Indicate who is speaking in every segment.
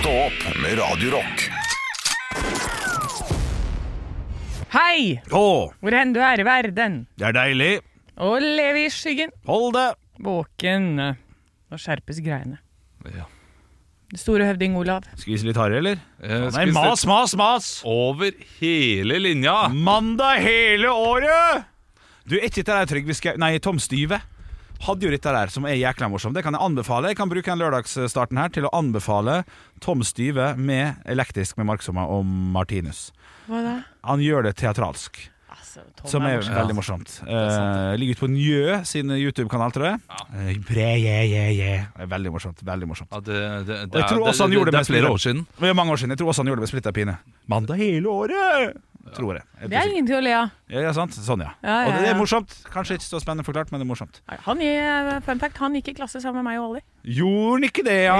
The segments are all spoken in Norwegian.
Speaker 1: Stå opp med Radio Rock.
Speaker 2: Hei!
Speaker 3: Å,
Speaker 2: Hvor hen du er i verden?
Speaker 3: det er deilig.
Speaker 2: Og leve i skyggen.
Speaker 3: Hold det.
Speaker 2: Våken. Nå skjerpes greiene.
Speaker 4: Ja.
Speaker 2: Det store høvding Olav.
Speaker 3: Skvis litt hardere, eller?
Speaker 4: Eh,
Speaker 3: Nei,
Speaker 4: skvis
Speaker 3: mas, mas, mas!
Speaker 4: Over hele linja!
Speaker 3: Mandag hele året! Du, er ikke dette der Trygve Skau... Nei, Tom Styve. Hadde jo dette der, som er jækla morsomt. Det kan jeg anbefale. Jeg kan bruke den lørdagsstarten her til å anbefale Tom Styve med Elektrisk med Marksomma og Martinus.
Speaker 2: Hva da?
Speaker 3: Han gjør det teatralsk,
Speaker 2: Altså, Tom
Speaker 3: som er
Speaker 2: morsom.
Speaker 3: veldig morsomt. Eh, ligger ute på Njø sin YouTube-kanal, tror jeg. Eh, Bre, je, je, je. Det er Veldig morsomt. Veldig morsomt.
Speaker 4: Ja, det, det, det,
Speaker 3: Og jeg tror også han gjorde det
Speaker 4: det
Speaker 3: med
Speaker 4: er flere
Speaker 3: splitter-
Speaker 4: år siden.
Speaker 3: Det er mange år siden. Jeg tror også han gjorde det med splitta pine. Mandag hele året! Tror jeg. jeg.
Speaker 2: Det er ingen til å le av.
Speaker 3: ja, ja, sant? Sånn, ja.
Speaker 2: Ja, ja,
Speaker 3: Og det
Speaker 2: ja.
Speaker 3: er morsomt. Kanskje ikke så spennende forklart, men det er morsomt.
Speaker 2: Han, i- fun fact, han gikk i klasse sammen med meg og Olli.
Speaker 3: Gjorde han ikke det, ja?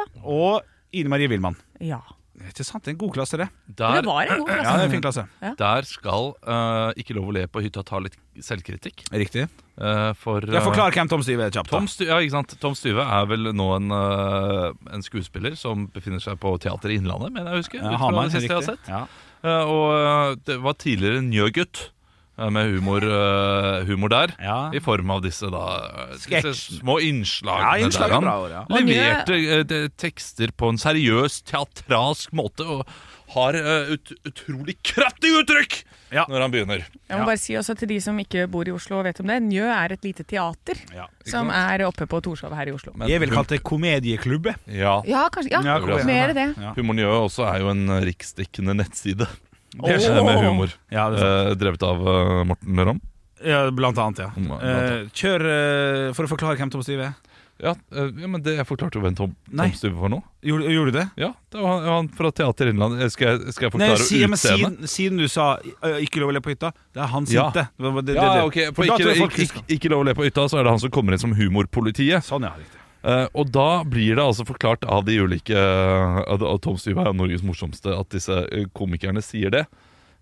Speaker 2: da.
Speaker 3: Og Ine Marie Wilman.
Speaker 2: Ja.
Speaker 3: Det er Ikke sant? Det er en god klasse, det.
Speaker 2: Det
Speaker 4: Der,
Speaker 2: var en god klasse.
Speaker 3: Ja, det er en fin klasse.
Speaker 4: der skal eh, Ikke lov å le på hytta ta litt selvkritikk.
Speaker 3: Riktig.
Speaker 4: eh, for
Speaker 3: Jeg
Speaker 4: eh,
Speaker 3: forklarer hvem Tom Styve er kjapt. da.
Speaker 4: Tom, Sty ja, ikke sant? Tom Styve er vel nå en, eh, en skuespiller som befinner seg på Teater i Innlandet, mener jeg å huske.
Speaker 3: Ja,
Speaker 4: ut fra
Speaker 3: Hamar,
Speaker 4: det siste jeg har
Speaker 3: riktig.
Speaker 4: sett.
Speaker 3: Ja.
Speaker 4: Eh, og eh, det var tidligere en njøgutt eh, med humor, eh, humor der.
Speaker 3: Ja.
Speaker 4: I form av disse da eh, disse
Speaker 3: Sketsj.
Speaker 4: små innslagene.
Speaker 3: Ja, innslag er
Speaker 4: der han
Speaker 3: bra ord, ja.
Speaker 4: Leverte eh, de, tekster på en seriøs, teatralsk måte. Og har eh, ut, utrolig kraftig uttrykk
Speaker 3: Ja.
Speaker 4: når han begynner.
Speaker 2: Jeg må bare si også til de som ikke bor i Oslo og vet om det, Njø er et lite teater
Speaker 3: Ja.
Speaker 2: som er oppe på Torshov her i Oslo.
Speaker 4: Men
Speaker 3: Jeg vil
Speaker 4: hum-
Speaker 3: kalle det komedieklubbe.
Speaker 4: ja.
Speaker 2: Ja, kanskje. Ja,
Speaker 3: Ja, kom igjen.
Speaker 2: mer det.
Speaker 3: Ja.
Speaker 4: Humor Njø også er jo en eh, riksdekkende nettside
Speaker 3: Det er
Speaker 4: eh,
Speaker 3: sånn.
Speaker 4: med humor.
Speaker 3: Ja, det er sant.
Speaker 4: Eh, drevet av eh, Morten Ramm.
Speaker 3: ja, blant annet, ja.
Speaker 4: Blant
Speaker 3: Eh,
Speaker 4: annet.
Speaker 3: kjør eh, for å forklare hvem Tom Styve er.
Speaker 4: Ja, eh, ja, men det, jeg forklarte jo hvem Tom,
Speaker 3: Nei.
Speaker 4: Tom Styve var nå.
Speaker 3: Gjorde, gjorde du det?
Speaker 4: Ja, det var han- han fra Teater Innland. Skal jeg, skal jeg
Speaker 3: Nei,
Speaker 4: forklare
Speaker 3: si, ja, men
Speaker 4: utseendet?
Speaker 3: siden, siden du sa ø, 'ikke lov å le på hytta', det er han
Speaker 4: Ja.
Speaker 3: sinte. Det var- det- det-
Speaker 4: Ja,
Speaker 3: det-
Speaker 4: ok.
Speaker 3: For
Speaker 4: For
Speaker 3: da
Speaker 4: ikke,
Speaker 3: tror jeg folk
Speaker 4: ikke,
Speaker 3: husker
Speaker 4: ikke, ikke lov å le på ytta, så er det han som kommer inn som humorpolitiet.
Speaker 3: Sånn, ja. Riktig.
Speaker 4: Eh, og da blir det altså forklart av de ulike eh, av av Tom Styve er Norges morsomste at disse eh, komikerne sier det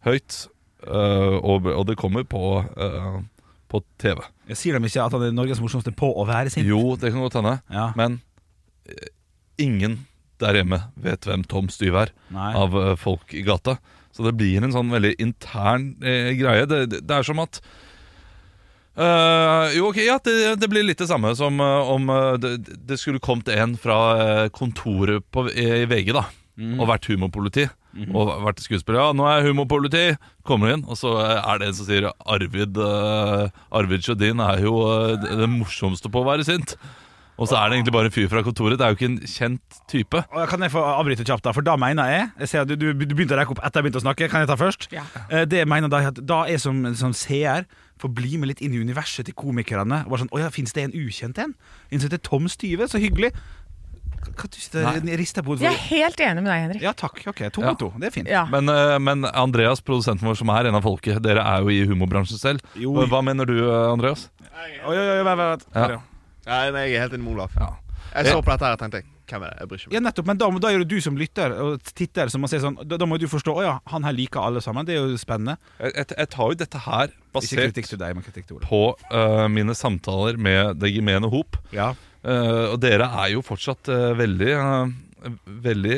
Speaker 4: høyt. eh, og, og det kommer på, eh, på TV.
Speaker 3: Jeg sier dem ikke at han er Norges morsomste på å være sint.
Speaker 4: Jo, det kan godt hende.
Speaker 3: Ja.
Speaker 4: Men eh, ingen der hjemme vet hvem Tom Styve er.
Speaker 3: Nei.
Speaker 4: av eh, folk i gata. Så det blir en sånn veldig intern eh, greie. Det, det, det er som at eh, jo, ok, ja, det, det blir litt det samme som eh, om eh, det, det skulle kommet en fra eh, kontoret på, i, i VG da,
Speaker 3: Mhm.
Speaker 4: og vært humorpoliti, og vært skuespiller. Ja, nå er jeg humorpoliti, kommer inn, og så eh, er det en som sier Arvid, eh, Arvid Sjødin er jo eh, det- det morsomste på å være sint. Og så er det egentlig bare en fyr fra kontoret, det er jo ikke en kjent type.
Speaker 3: Og Kan jeg få avbryte kjapt, da? For da mener jeg Jeg ser at du, du, du begynte å rekke opp etter jeg begynte å snakke. Kan jeg ta først?
Speaker 2: Ja.
Speaker 3: Eh, Det jeg mener da er at da jeg som, som seer får bli med litt inn i universet til komikerne. Og bare sånn, Å ja, fins det en ukjent en? En som heter Tom Styve? Så hyggelig. Hva du sitter rister på
Speaker 2: Jeg
Speaker 3: hodet
Speaker 2: er helt enig med deg, Henrik.
Speaker 3: Ja takk. Ok, to
Speaker 4: Ja.
Speaker 3: mot to. Det er fint.
Speaker 2: Ja.
Speaker 4: Men, eh, men Andreas, produsenten vår, som er en av folket, dere er jo i humorbransjen selv.
Speaker 3: Jo.
Speaker 4: Hva- Hva mener du, eh, Andreas?
Speaker 3: Oi, oi, oi, vent, vent.
Speaker 4: Ja.
Speaker 3: vent.
Speaker 5: Nei, men Jeg er helt enig med Olav.
Speaker 4: Ja.
Speaker 5: Jeg så på dette her og tenkte Hvem er det? Jeg bryr ikke meg.
Speaker 3: Ja, nettopp, men da, da er det du som lytter og titter som må si sånn Da, da må du forstå Å ja, han her liker alle sammen. Det er jo spennende.
Speaker 4: Jeg, jeg, jeg tar jo dette her
Speaker 3: Ikke
Speaker 4: basert
Speaker 3: kritikk til deg, men kritikk til Ola.
Speaker 4: på eh, mine samtaler med det gemene hop.
Speaker 3: Ja.
Speaker 4: Eh, og dere er jo fortsatt eh, veldig, eh, veldig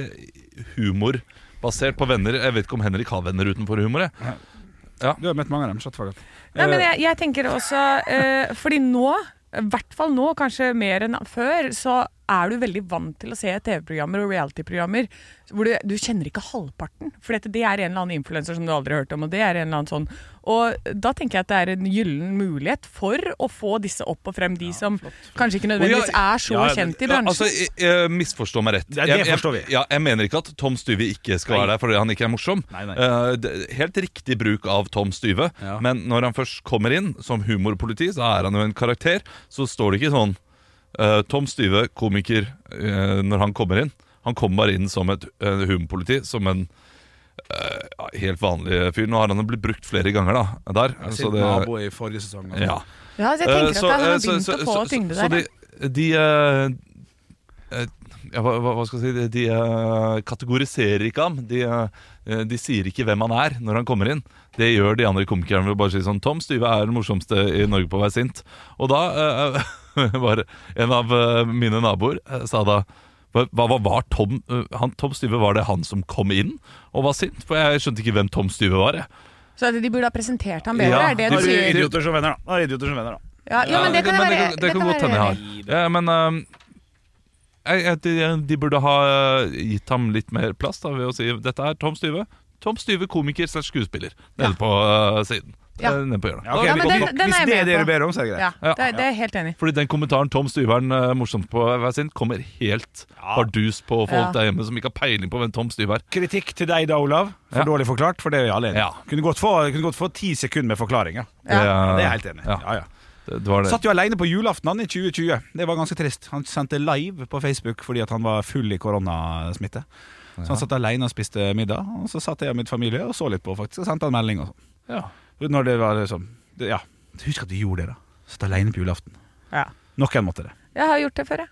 Speaker 4: humorbasert på venner. Jeg vet ikke om Henrik har venner utenfor humor. Jeg.
Speaker 3: Du har møtt mange av dem. Shottfagert.
Speaker 2: Nei, men jeg, eh, jeg tenker også eh, Fordi nå, i hvert fall nå, kanskje mer enn før, så er du veldig vant til å se TV-programmer og reality-programmer hvor du, du kjenner ikke halvparten. For dette, det er en eller annen influenser som du aldri har hørt om, og det er en eller annen sånn. Og da tenker jeg at det er en gyllen mulighet for å få disse opp og frem, de som kanskje ikke nødvendigvis
Speaker 4: Å, ja,
Speaker 2: er så
Speaker 4: ja, ja,
Speaker 2: kjent i
Speaker 4: ja,
Speaker 2: bransjen.
Speaker 4: altså, jeg, jeg misforstå meg rett.
Speaker 3: Det- det
Speaker 4: Jeg- jeg-
Speaker 3: forstår vi.
Speaker 4: Ja, jeg mener ikke at Tom Styve ikke skal være der fordi han ikke er morsom.
Speaker 3: Nei, nei.
Speaker 4: Eh, det- helt riktig bruk av Tom Styve,
Speaker 3: Ja.
Speaker 4: men når han først kommer inn som humorpoliti, så er han jo en karakter. Så står det ikke sånn eh, Tom Styve, komiker, eh, når han kommer inn. Han kommer bare inn som et eh, humorpoliti, som en eh, ja, helt vanlig fyr. Nå har han jo blitt brukt flere ganger, da. Der, så
Speaker 3: Siden
Speaker 4: det-
Speaker 3: nabo i forrige sesong. altså.
Speaker 4: ja.
Speaker 2: ja, så jeg tenker
Speaker 4: Eh,
Speaker 2: at
Speaker 4: så,
Speaker 2: han
Speaker 4: eh,
Speaker 2: har
Speaker 4: så-
Speaker 2: begynt
Speaker 4: så-
Speaker 2: å få
Speaker 4: så-
Speaker 2: tyngde
Speaker 4: så
Speaker 2: der.
Speaker 4: de, de eh, eh, ja, hva, hva hva skal jeg si De, de eh, kategoriserer ikke ham. De, eh, de sier ikke hvem han er når han kommer inn. Det gjør de andre komikerne ved å bare si sånn Tom Styve er den morsomste i Norge på å være sint. Og da eh, var en av eh, mine naboer eh, sa da hva, hva var Tom, eh, han, Tom Styve? Var det han som kom inn og var sint? For jeg skjønte ikke hvem Tom Styve var. Jeg.
Speaker 2: Så at de burde ha presentert ham bedre,
Speaker 4: Ja,
Speaker 2: er det
Speaker 3: Da
Speaker 2: du
Speaker 3: er det
Speaker 2: sier?
Speaker 3: idioter som venner, da. Da er det idioter som venner, da.
Speaker 2: Ja, jo, men det kan jeg være
Speaker 4: det kan godt hende jeg har. Ja, men ehm, jeg, jeg, de, de burde ha eh, gitt ham litt mer plass da, ved å si dette er Tom Styve. Tom Styve, komiker slash skuespiller. Nede på eh, siden.
Speaker 2: Ja.
Speaker 4: Eh, Nede på hjørnet.
Speaker 3: ok,
Speaker 2: Ja, men
Speaker 3: godt
Speaker 2: den-
Speaker 3: nok.
Speaker 2: den er
Speaker 3: Hvis
Speaker 2: jeg
Speaker 3: det
Speaker 2: med
Speaker 3: er det
Speaker 2: på.
Speaker 3: du ber om, så er det greit.
Speaker 2: Ja, det, det er jeg helt enig i.
Speaker 4: Fordi den kommentaren 'Tom Styve er den eh, morsomste på å være sint' kommer helt bardus på folk
Speaker 2: Ja.
Speaker 4: der hjemme som ikke har peiling på hvem Tom Styve er.
Speaker 3: Kritikk til deg da, Olav. For
Speaker 4: Ja.
Speaker 3: dårlig forklart, for det er vi alle enige
Speaker 4: Ja.
Speaker 3: i. Kunne godt få- Kunne godt få ti sekunder med forklaring. Ja.
Speaker 4: eh,
Speaker 3: Det er jeg helt enig i.
Speaker 4: Ja.
Speaker 3: Ja, ja.
Speaker 4: Det, det var det.
Speaker 3: Satt jo alene på julaften han i 2020. Det var ganske trist. Han sendte live på Facebook fordi at han var full i koronasmitte. Så han satt alene og spiste middag, og så satt jeg og min familie og så litt på, faktisk. Og sendte han melding og sånn.
Speaker 4: Ja.
Speaker 3: Når det var liksom det, Ja. Husk at du gjorde det, da. Satt alene på julaften.
Speaker 2: Ja.
Speaker 3: Noen måtte det.
Speaker 2: Jeg har gjort det før, jeg.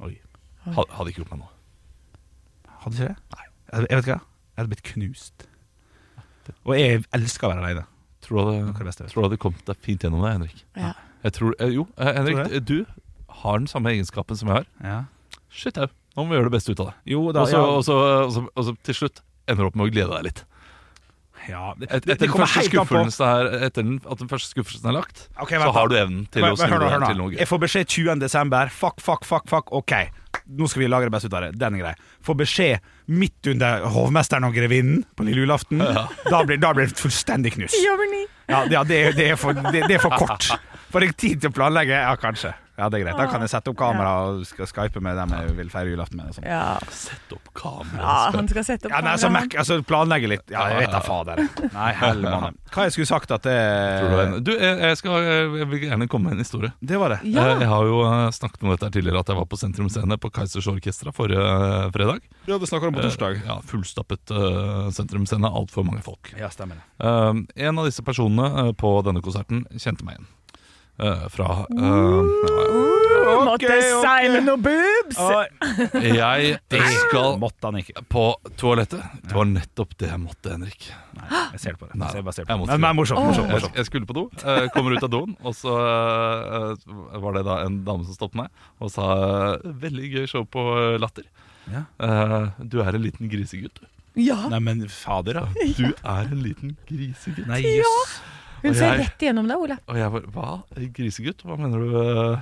Speaker 3: Oi.
Speaker 4: Had, hadde ikke gjort meg noe.
Speaker 3: Hadde ikke det? Nei. Jeg, jeg vet ikke hva. Jeg hadde blitt knust. Og jeg elsker å være alene.
Speaker 4: Tror du
Speaker 3: Noe av det beste jeg
Speaker 4: hadde,
Speaker 3: vet.
Speaker 4: tror du hadde kommet deg fint gjennom det, Henrik?
Speaker 2: Ja.
Speaker 4: Jeg tror, eh, jo, eh, Henrik,
Speaker 3: Tror du
Speaker 4: du har den samme egenskapen som jeg har.
Speaker 3: Ja.
Speaker 4: Shit, au. Nå må vi gjøre det beste ut av det.
Speaker 3: Jo, da,
Speaker 4: Og så-
Speaker 3: ja.
Speaker 4: og så og så- og så til slutt ender du opp med å glede deg litt.
Speaker 3: Ja, det,
Speaker 4: Et,
Speaker 3: det,
Speaker 4: etter, den
Speaker 3: kommer
Speaker 4: første
Speaker 3: helt an på
Speaker 4: skuffelsen er, etter den, at den første skuffelsen er lagt,
Speaker 3: Ok, vent
Speaker 4: så
Speaker 3: da.
Speaker 4: har du evnen til
Speaker 3: Men-
Speaker 4: å
Speaker 3: men
Speaker 4: snu
Speaker 3: hør nå, hør
Speaker 4: deg
Speaker 3: nå.
Speaker 4: til noe gøy.
Speaker 3: Jeg får beskjed 20. desember Fuck, fuck, fuck, fuck Ok, nå skal vi lage det beste ut av det Den er grei Får beskjed midt under hovmesteren og grevinnen På lille julaften da, blir, da blir det fullstendig knus
Speaker 2: Ti over ni.
Speaker 3: Ja, det, ja, det, er- det, er, for, det, det er for kort Får jeg tid til å planlegge? Ja, kanskje Ja, det er greit Da kan jeg sette opp kamera og sk- skype med dem jeg vil feire julaften med og sånn.
Speaker 2: Ja,
Speaker 4: Sett opp
Speaker 2: ja
Speaker 4: kameraet.
Speaker 2: han skal sette opp
Speaker 3: ja, nei, så
Speaker 2: kameraet.
Speaker 3: merk, altså planlegge litt Ja, jeg vet da, fader Nei, helle mannen Hva jeg skulle sagt at det
Speaker 4: Du, jeg, jeg, skal, jeg vil gjerne komme med en historie.
Speaker 3: Det var det
Speaker 2: Ja.
Speaker 4: Eh, Jeg har jo eh, snakket om dette her tidligere, at jeg var på Sentrum Scene på Kaizers Orkestra forrige eh, fredag.
Speaker 3: Ja, det snakker om på
Speaker 4: Eh, Ja, fullstappet eh, Sentrum Scene, altfor mange folk.
Speaker 3: Ja, stemmer det
Speaker 4: Eh, en av disse personene eh, på denne konserten kjente meg igjen. Eh, fra
Speaker 3: Mm.
Speaker 4: eh,
Speaker 2: Åh,
Speaker 3: Ok,
Speaker 2: Måtte
Speaker 3: ok.
Speaker 2: seile noen boobs!
Speaker 4: ja. Jeg skal
Speaker 3: Måtte han ikke
Speaker 4: på toalettet. Det var nettopp det jeg måtte, Henrik.
Speaker 3: Jeg ser det på det.
Speaker 4: Nei,
Speaker 3: Så jeg bare ser det
Speaker 4: jeg
Speaker 3: på
Speaker 4: måtte
Speaker 3: det. Men, men morsomt. morsomt,
Speaker 4: Jeg,
Speaker 3: morsomt.
Speaker 4: jeg skulle på do, eh, kommer ut av doen, og så eh, var det da en dame som stoppet meg og sa eh, 'veldig gøy show på eh, Latter'.
Speaker 3: Ja.
Speaker 4: Eh, du er en liten grisegutt. du.
Speaker 2: Ja,
Speaker 3: Nei, men fader, da.
Speaker 4: Du er en liten grisegutt.
Speaker 3: Nei, jøss.
Speaker 2: hun
Speaker 4: Og
Speaker 2: ser
Speaker 4: jeg-
Speaker 2: rett igjennom deg, Ole.
Speaker 4: Og jeg bare Hva? Grisegutt? Hva mener du? eh,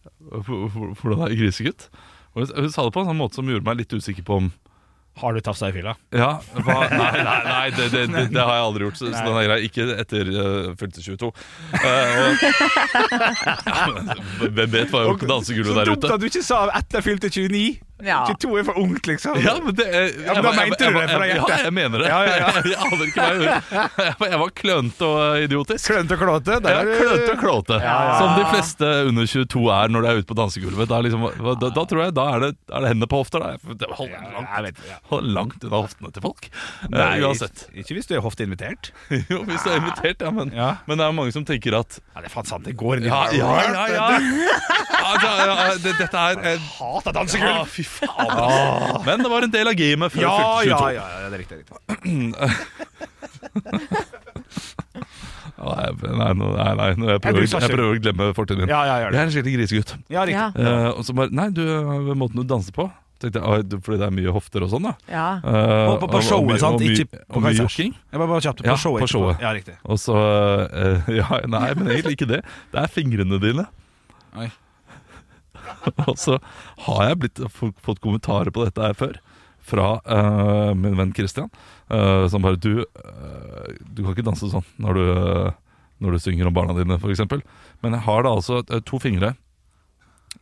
Speaker 4: h- h- Hvordan er grisegutt? Og hun- hun sa det på en sånn måte som gjorde meg litt usikker på om
Speaker 3: Har du tafsa i fila?
Speaker 4: Ja, hva? Nei, nei, nei det, det, det, det har jeg aldri gjort. Så, så den er grei. Ikke etter eh, fylte 22. Eh, og, hvem vet hva jeg har gjort på dansegulvet der
Speaker 3: dumt
Speaker 4: ute?
Speaker 3: at du ikke sa etter fylte 29.
Speaker 2: Ja.
Speaker 3: 22 er for ungt, liksom.
Speaker 4: Ja, men det eh, jeg,
Speaker 3: Ja, men da mente du det fra hjertet.
Speaker 4: Ja, jeg mener det.
Speaker 3: Ja, ja, ja.
Speaker 4: Jeg, aner ikke hva jeg gjorde. Jeg var- Jeg var klønete og eh, idiotisk.
Speaker 3: Klønete og klåte. Der
Speaker 4: Ja,
Speaker 3: er du-
Speaker 4: kløte og klåte. Som de fleste under 22 er når de er ute på dansegulvet. Da, er liksom, da, da tror jeg da er det, er det hendene på hofter. Da. For Det holder
Speaker 3: jeg
Speaker 4: langt,
Speaker 3: vet, ja.
Speaker 4: holder langt unna hoftene til folk. Eh,
Speaker 3: Nei,
Speaker 4: uansett.
Speaker 3: Ikke hvis du er hofteinvitert.
Speaker 4: Jo, hvis du er invitert, ja. Men,
Speaker 3: Ja.
Speaker 4: men det er mange som tenker at
Speaker 3: Ja, det er faen sant. Det går inn i
Speaker 4: Ja, ja, ja. ja. Ja, da, ja, det, dette er eh,
Speaker 3: Hata
Speaker 4: ja,
Speaker 3: dansegulv! Ah.
Speaker 4: Fy faen. ass. Men det var en del av gamet før
Speaker 3: Ja, ja,
Speaker 4: fylte 22.
Speaker 3: ja, ja, det er riktig. det er riktig.
Speaker 4: Nei, nei, nei, nei, nei, jeg,
Speaker 3: Ja, du
Speaker 4: prøver,
Speaker 3: sa selv.
Speaker 4: jeg prøver å glemme fortiden din.
Speaker 3: Ja, ja, gjør
Speaker 4: Jeg
Speaker 3: det.
Speaker 4: er en skikkelig grisegutt.
Speaker 3: Ja, riktig.
Speaker 2: Ja.
Speaker 4: Eh, og så bare Nei, du, ved måten du danser på Tenkte jeg, «Oi, du- Fordi det er mye hofter og sånn, da.
Speaker 2: Ja.
Speaker 3: På,
Speaker 4: Eh,
Speaker 3: på,
Speaker 4: og-
Speaker 3: på
Speaker 4: og mye-
Speaker 3: showet, sant?
Speaker 4: og mye-
Speaker 3: Ikke på
Speaker 4: og mye
Speaker 3: Kaizers.
Speaker 4: jokking.
Speaker 3: Jeg bare, bare kjapt. På
Speaker 4: Ja,
Speaker 3: showet.
Speaker 4: på
Speaker 3: etterpå.
Speaker 4: showet.
Speaker 3: Ja, riktig.
Speaker 4: Og så eh, Ja, nei, men egentlig ikke det. Det er fingrene dine.
Speaker 3: Oi.
Speaker 4: Og så har jeg blitt, fått fått kommentarer på dette her før. Fra eh, min venn Christian, eh, som bare du, eh, du kan ikke danse sånn når du, eh, når du synger om barna dine, f.eks. Men jeg har da altså eh, to fingre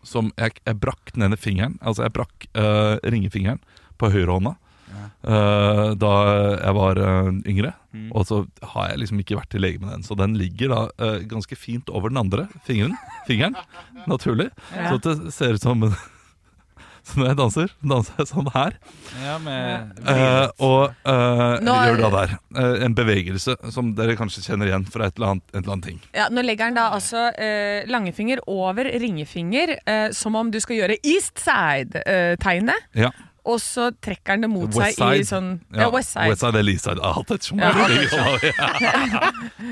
Speaker 4: som jeg, jeg brakk den ene fingeren. Altså jeg brakk eh, ringefingeren på høyrehånda eh, da jeg var eh, yngre.
Speaker 2: Mm.
Speaker 4: Og så har jeg liksom ikke vært til lege med den, så den ligger da eh, ganske fint over den andre fingeren. fingeren naturlig.
Speaker 2: Ja.
Speaker 4: Så det ser ut som Så når jeg danser, danser jeg sånn her.
Speaker 3: Ja, med
Speaker 4: Eh, og eh,
Speaker 2: Nå-
Speaker 4: gjør da der. Eh, en bevegelse som dere kanskje kjenner igjen fra et eller annet, et eller annet ting.
Speaker 2: Ja, nå legger han da altså eh, langefinger over ringefinger, eh, som om du skal gjøre east side-tegnet.
Speaker 4: Ja.
Speaker 2: og så trekker han det mot
Speaker 4: West
Speaker 2: seg i
Speaker 4: Side.
Speaker 2: sånn ja, West Side.
Speaker 4: West Side eller East Side. Jeg har hatt et som
Speaker 2: Ja.
Speaker 4: er-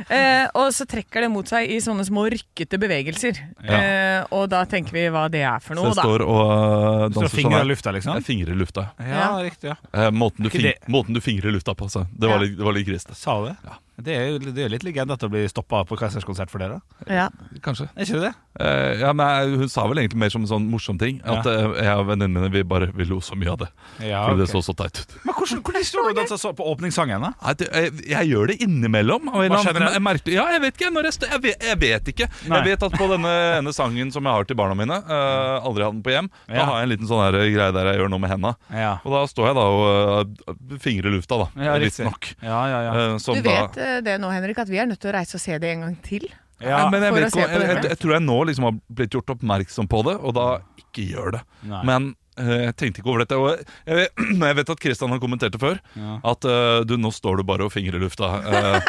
Speaker 2: Eh, og så trekker det mot seg i sånne små rykkete bevegelser. Eh, og da tenker vi hva det er for
Speaker 4: Så
Speaker 2: noe,
Speaker 4: jeg
Speaker 2: da.
Speaker 4: står og eh,
Speaker 3: Står
Speaker 4: danser
Speaker 3: og fingrer i
Speaker 4: sånn. her.
Speaker 3: lufta, liksom?
Speaker 4: Jeg fingrer i lufta.
Speaker 3: Ja, riktig. ja
Speaker 4: Eh, måten, du
Speaker 3: Ikke
Speaker 4: fing,
Speaker 3: det.
Speaker 4: måten du fingrer i lufta på, altså. Det var
Speaker 2: Ja.
Speaker 4: litt, det var litt grist.
Speaker 3: Sa du det? Det er jo det er jo litt legende at det blir stoppa på Kaizers konsert for dere.
Speaker 2: Ja.
Speaker 4: Kanskje.
Speaker 3: Er ikke det det?
Speaker 4: Eh, ja, men jeg- hun sa vel egentlig mer som en sånn morsom ting. At
Speaker 3: Ja.
Speaker 4: eh, jeg og venninnene mine vi bare vi lo så mye av det.
Speaker 3: Ja,
Speaker 4: Fordi
Speaker 3: ok.
Speaker 4: det så så teit ut.
Speaker 3: Men hvordan, hvordan står du og danser så på åpningssangen? da?
Speaker 4: Nei, det, jeg, jeg gjør det innimellom. av en
Speaker 3: Hva
Speaker 4: eller annen-
Speaker 3: skjer med det?
Speaker 4: jeg merker- ja, jeg vet ikke. Når jeg, stø, jeg, vet, jeg vet ikke.
Speaker 3: Nei.
Speaker 4: Jeg vet at på denne ene sangen som jeg har til barna mine, eh, aldri hatt den på hjem, da
Speaker 3: Ja.
Speaker 4: har jeg en liten sånn her greie der jeg gjør noe med henda.
Speaker 3: Ja,
Speaker 4: Og da står jeg da og uh, fingrer i lufta, da.
Speaker 3: Ja,
Speaker 4: Litt
Speaker 3: riktig.
Speaker 4: nok.
Speaker 3: ja, ja, ja.
Speaker 4: Eh, som
Speaker 2: Du
Speaker 4: da-
Speaker 2: vet eh, det nå, Henrik, at vi er nødt til å reise og se det en gang til.
Speaker 3: ja.
Speaker 4: Nei, eh, men jeg,
Speaker 2: for å
Speaker 4: vet
Speaker 2: se
Speaker 4: ikke,
Speaker 2: på
Speaker 4: jeg, jeg,
Speaker 2: dette.
Speaker 4: jeg tror jeg nå liksom har blitt gjort oppmerksom på det, og da ikke gjør det.
Speaker 3: Nei.
Speaker 4: Men eh, jeg tenkte ikke over dette. Og jeg, jeg, jeg vet at Kristian har kommentert det før.
Speaker 3: Ja.
Speaker 4: At eh, du, nå står du bare og fingrer i lufta, eh,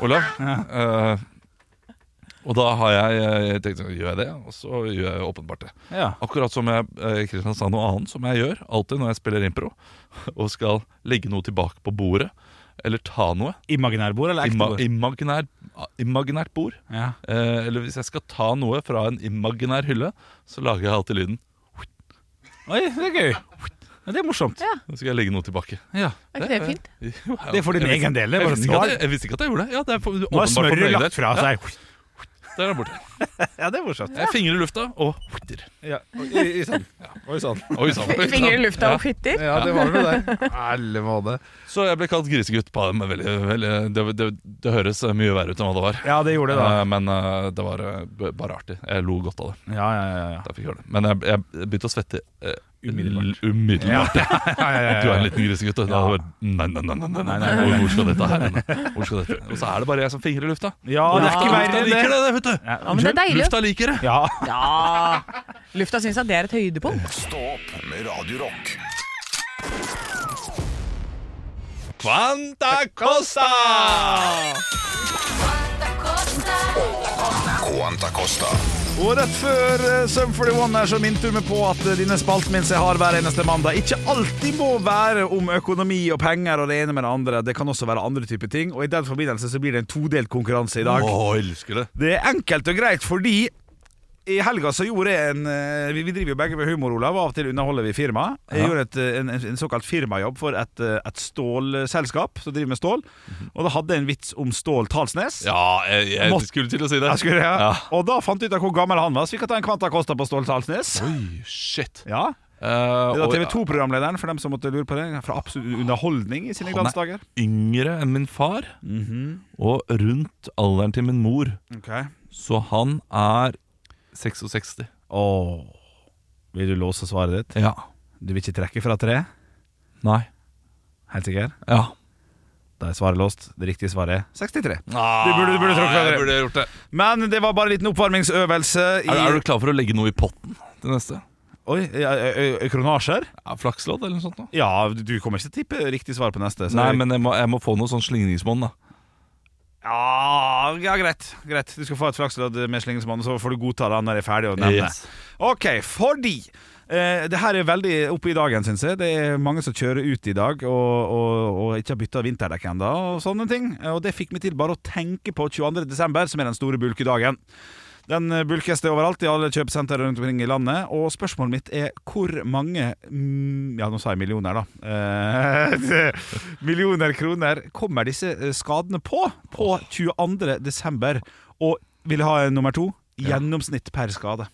Speaker 4: Olav. Eh, og da har jeg, jeg tenkt sånn, gjør jeg det, og så gjør jeg åpenbart det.
Speaker 3: ja.
Speaker 4: Akkurat som jeg, eh, Kristian sa noe annet, som jeg gjør alltid når jeg spiller impro, og skal legge noe tilbake på bordet, eller ta noe.
Speaker 3: Imaginærbord eller
Speaker 4: Ima,
Speaker 3: ektebord?
Speaker 4: imaginær, imaginært bord.
Speaker 3: Ja.
Speaker 4: Eh, eller hvis jeg skal ta noe fra en imaginær hylle, så lager jeg alltid lyden.
Speaker 3: Oi, det er gøy. Ja, Det er morsomt.
Speaker 4: Nå skal jeg legge noe tilbake.
Speaker 3: Ja.
Speaker 2: Er ikke det fint?
Speaker 3: Det er for din egen del. Det
Speaker 4: Jeg
Speaker 3: er bare
Speaker 4: visste, ikke at
Speaker 3: svar.
Speaker 4: jeg, jeg visste ikke at jeg gjorde det. Ja, det er for,
Speaker 3: Nå
Speaker 4: åpenbart
Speaker 3: har
Speaker 4: for min
Speaker 3: smøret
Speaker 4: egen
Speaker 3: lagt
Speaker 4: del.
Speaker 3: fra
Speaker 4: Ja,
Speaker 3: seg.
Speaker 4: der er borte.
Speaker 3: Ja, det er morsomt.
Speaker 4: Jeg fingrer i lufta og hutter.
Speaker 3: Ja. Oi oi, sann. Oi sann.
Speaker 4: Oi sann. oi, sann.
Speaker 2: Fingre i lufta
Speaker 4: Ja.
Speaker 2: og fitter.
Speaker 5: Ja, det var det der. Alle måneder.
Speaker 4: Så jeg ble kalt grisegutt. På, men veldig, veldig, det, det, det høres mye verre ut enn hva det var.
Speaker 3: Ja, det gjorde det, da.
Speaker 4: Eh, Men eh, det var eh, b- bare artig. Jeg lo godt av det.
Speaker 3: Ja, ja, ja. ja.
Speaker 4: da jeg fikk høre det. Men jeg, jeg begynte å svette eh,
Speaker 3: Umiddelbart.
Speaker 4: l- umiddelbart.
Speaker 3: ja, ja, Eh, ja, ja.
Speaker 4: Du er en liten grisegutt. og Da hadde jeg bare, nei, nei, nei, nei, nei, nei, Hvor, hvor skal dette her hen? Hvor skal dette? Og så er det bare jeg som fingrer i lufta.
Speaker 3: Ja, det er ikke verre
Speaker 4: Lufta
Speaker 3: enn
Speaker 4: liker
Speaker 3: det.
Speaker 4: det, det, vet du.
Speaker 3: Ja,
Speaker 2: Ja, men det er deilig.
Speaker 4: Lufta liker det.
Speaker 3: Ja.
Speaker 2: Ja. Lufta syns at det er et høydepunkt.
Speaker 1: Stå opp med Radio Rock.
Speaker 4: Quanta Costa!
Speaker 1: Quanta Costa.
Speaker 3: Og rett før eh, Sum 41 her så minte du meg på at eh, denne spalten min som jeg har hver eneste mandag, ikke alltid må være om økonomi og penger og det ene med det andre. Det kan også være andre typer ting, og i den forbindelse så blir det en todelt konkurranse i dag.
Speaker 4: Å, elsker det.
Speaker 3: Det er enkelt og greit fordi i helga så gjorde jeg en eh, Vi vi driver jo begge med humor, Olav. og Av og til underholder vi firma. Jeg gjorde et, eh, en, en- en såkalt firmajobb for et, eh, et stålselskap som driver med stål.
Speaker 4: Mhm.
Speaker 3: Og da hadde jeg en vits om Stål Talsnes.
Speaker 4: Ja, jeg, jeg
Speaker 3: Måtte-
Speaker 4: skulle til å si det.
Speaker 3: Jeg skulle, ja.
Speaker 4: Ja.
Speaker 3: Og da fant jeg ut av hvor gammel han var, så vi kan ta en kvanta kosta på Stål Talsnes.
Speaker 4: Oi, shit.
Speaker 3: Ja,
Speaker 4: Eh,
Speaker 3: det var
Speaker 4: og
Speaker 3: TV 2-programlederen, for dem som måtte lure på det. Fra absolutt underholdning i sine
Speaker 4: Han er-
Speaker 3: glansdager.
Speaker 4: Yngre enn min far,
Speaker 3: Mhm.
Speaker 4: og rundt alderen til min mor.
Speaker 3: Okay.
Speaker 4: Så han er 66.
Speaker 3: Vil du låse svaret ditt?
Speaker 4: Ja.
Speaker 3: Du vil ikke trekke fra tre?
Speaker 4: Nei.
Speaker 3: Helt sikker?
Speaker 4: Ja.
Speaker 3: Da er svaret låst. Det riktige svaret er 63.
Speaker 4: Ah,
Speaker 3: Du burde- du burde trukket
Speaker 4: jeg
Speaker 3: det.
Speaker 4: burde gjort det.
Speaker 3: Men det var bare en liten oppvarmingsøvelse i
Speaker 4: Er, er du klar for å legge noe i potten til neste?
Speaker 3: Oi, ja, ø- ø- ø- kronasjer?
Speaker 4: Ja, Flakslodd eller noe sånt? Da?
Speaker 3: Ja, du kommer ikke til å tippe riktig svar på neste. så-
Speaker 4: Nei, men jeg må, jeg må få noe sånn slingringsmonn, da.
Speaker 3: ja, ja, greit. greit. Du skal få et flakslodd med Slingesmannen, så får du godta det når jeg er ferdig å nevne.
Speaker 4: Yes.
Speaker 3: Ok, fordi eh, det her er veldig oppe i dagen, syns jeg. Det er mange som kjører ut i dag og, og, og ikke har bytta vinterdekk ennå og sånne ting. Og det fikk meg til bare å tenke på 22. desember, som er den store bulkedagen. Den eh, bulkes det overalt i alle kjøpesentre rundt omkring i landet. Og spørsmålet mitt er hvor mange mm, Ja, nå sa jeg millioner, da. Eh, millioner kroner kommer disse eh, skadene på på 22. desember? Og vil jeg ha en nummer to? Gjennomsnitt per skade.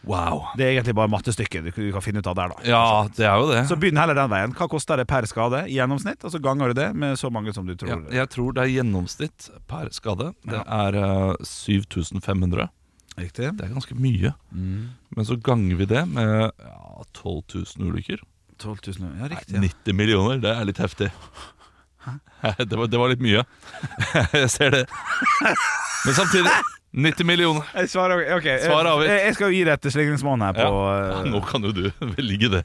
Speaker 4: Wow. Altså,
Speaker 3: Det er egentlig bare mattestykket du, du kan finne ut av der, da.
Speaker 4: Ja, det er jo det.
Speaker 3: Så begynn heller den veien. Hva koster det per skade i gjennomsnitt? Og så ganger du det med så mange som du tror.
Speaker 4: Ja, jeg tror det er gjennomsnitt per skade. Det er eh, 7500.
Speaker 3: Riktig.
Speaker 4: Det er ganske mye. Men så ganger vi det med ja, 12 000 ulykker.
Speaker 3: 12 000, ja, riktig. Ja.
Speaker 4: 90 millioner, det er litt heftig. Det var, det var litt mye. Jeg ser det. Men samtidig 90 millioner.
Speaker 3: Jeg svarer, ok, jeg,
Speaker 4: Svar avgitt.
Speaker 3: jeg, jeg skal jo gi det til slingringsmonn her.
Speaker 4: Ja.
Speaker 3: På,
Speaker 4: Ja,
Speaker 3: eh,
Speaker 4: nå kan jo du velge det,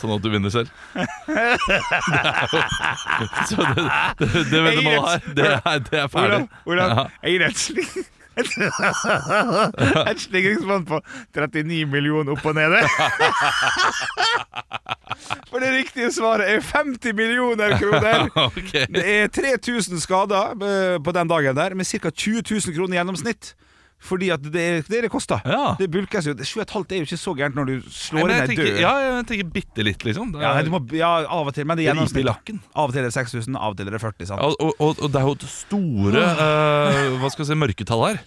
Speaker 4: sånn at du vinner selv. Det er jo, så det, det, det vet man her. Det er, det er ferdig.
Speaker 3: Olav, Olav
Speaker 4: Ja.
Speaker 3: jeg gir deg et sling... Et slingringsmonn på 39 millioner opp og nede. For det riktige svaret er 50 millioner kroner.
Speaker 4: Ok.
Speaker 3: Det er 3000 skader eh, på den dagen der, med ca. 20 000 kroner i gjennomsnitt. Fordi at det er det det koster.
Speaker 4: Ja.
Speaker 3: Det bulkes jo. 7,5 er jo ikke så gærent når du
Speaker 4: Nei,
Speaker 3: slår
Speaker 4: men
Speaker 3: inn
Speaker 4: jeg
Speaker 3: ei
Speaker 4: tenker,
Speaker 3: dør.
Speaker 4: ja, jeg tenker bitte litt, liksom. Det
Speaker 3: Ja,
Speaker 4: er-
Speaker 3: du må, ja, av og til. Men det er
Speaker 4: Det riper i
Speaker 3: gjennomsnitt.
Speaker 4: lakken.
Speaker 3: Av og til er det 6000, av og til er det 40. sant?
Speaker 4: Ja, og, og, og det er jo et store eh, Hva skal jeg si, mørketall her.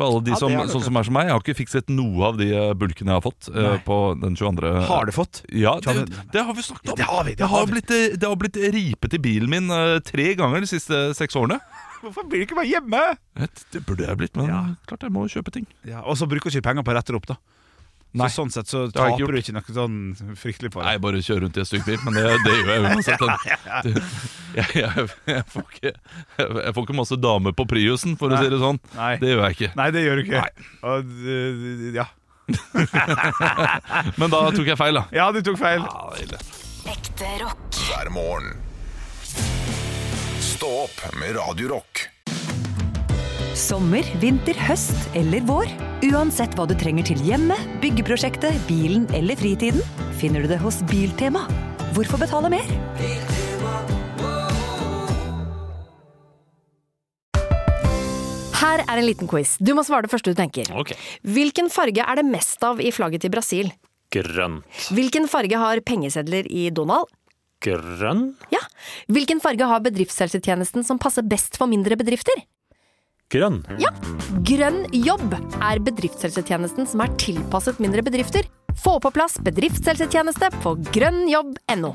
Speaker 4: For alle de
Speaker 3: Ja,
Speaker 4: som,
Speaker 3: det er det.
Speaker 4: sånn som er som meg. Jeg har ikke fikset noe av de eh, bulkene jeg har fått eh, på den 22.
Speaker 3: Har du fått?
Speaker 4: Ja, det, det har vi snakket om.
Speaker 3: Det har vi, det
Speaker 4: Jeg
Speaker 3: har vi.
Speaker 4: blitt, eh, det har blitt ripet i bilen min eh, tre ganger de siste seks årene.
Speaker 3: Hvorfor blir du ikke bare hjemme?
Speaker 4: Vet, Det burde jeg blitt, men
Speaker 3: Ja.
Speaker 4: klart jeg må kjøpe ting.
Speaker 3: Ja, og så bruker du ikke penger på å rette det opp, da.
Speaker 4: Nei.
Speaker 3: Så sånn sett så
Speaker 4: har jeg ikke
Speaker 3: taper du ikke noe sånn fryktelig på
Speaker 4: Nei,
Speaker 3: det.
Speaker 4: bare kjøre rundt i en stygg bil, men det, det gjør jeg uansett. Det, jeg, jeg, jeg, får ikke, jeg får ikke masse damer på Priusen, for å si det sånn.
Speaker 3: Nei.
Speaker 4: Det gjør jeg ikke.
Speaker 3: Nei, det gjør du ikke. Og, øh, ja.
Speaker 4: Men da tok jeg feil, da.
Speaker 3: ja, du tok feil.
Speaker 6: Ekte rock.
Speaker 1: hver morgen. Stå opp med Radio Rock.
Speaker 7: Sommer, vinter, høst eller vår. Uansett hva du trenger til hjemme, byggeprosjektet, bilen eller fritiden, finner du det hos Biltema. Hvorfor betale mer?
Speaker 6: Her er en liten quiz. Du må svare det første du tenker. Hvilken farge er det mest av i flagget til Brasil?
Speaker 8: Grønt.
Speaker 6: Hvilken farge har pengesedler i Donald?
Speaker 8: Grønn.
Speaker 6: Ja. Hvilken farge har bedriftshelsetjenesten som passer best for mindre bedrifter?
Speaker 8: Grønn.
Speaker 6: Ja. Grønn jobb er bedriftshelsetjenesten som er tilpasset mindre bedrifter. Få på plass bedriftshelsetjeneste på grønnjobb.no.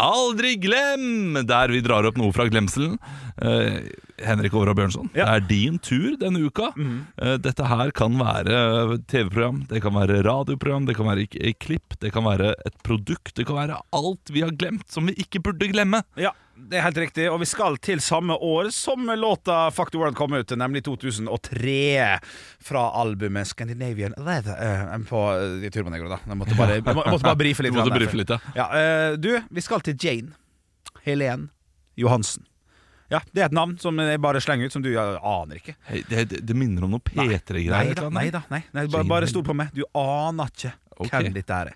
Speaker 4: Aldri glem! Der vi drar opp noe fra glemselen. Eh, Henrik Overhaug Bjørnson, det
Speaker 3: Ja.
Speaker 4: er din tur denne uka. Eh, dette her kan være TV-program, det kan være radioprogram, det kan være ik- eh, klipp, det kan være et produkt, det kan være alt vi har glemt som vi ikke burde glemme.
Speaker 3: Ja, det er helt riktig. Og vi skal til samme år som låta Fuck the World kom ut, nemlig 2003. Fra albumet Scandinavian Leather eh, på eh, Turbonegra, da. Jeg måtte bare, jeg må- jeg måtte bare brife litt.
Speaker 4: Du måtte
Speaker 3: grann der,
Speaker 4: brife litt, ja.
Speaker 3: eh, du, vi skal til Jane Helen Johansen. Ja, Det er et navn som jeg bare slenger ut, som du eh, aner ikke.
Speaker 4: Hei, det, det, det minner om noe
Speaker 3: Nei
Speaker 4: P3-greier.
Speaker 3: da, nei da. Nei, nei, bare,
Speaker 4: Jane
Speaker 3: bare
Speaker 4: Helen.
Speaker 3: stol på meg. Du aner ikke
Speaker 4: Ok.
Speaker 3: hvem dette er.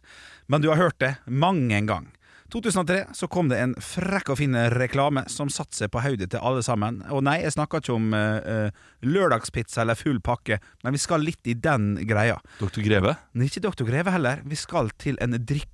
Speaker 3: Men du har hørt det mange en gang. 2003 så kom det en frekk og fin reklame som satte seg på hodet til alle sammen. Og nei, jeg snakker ikke om eh, eh, lørdagspizza eller full pakke, men vi skal litt i den greia.
Speaker 4: Dr. Greve?
Speaker 3: Men ikke Dr. Greve heller. Vi skal til en drikk.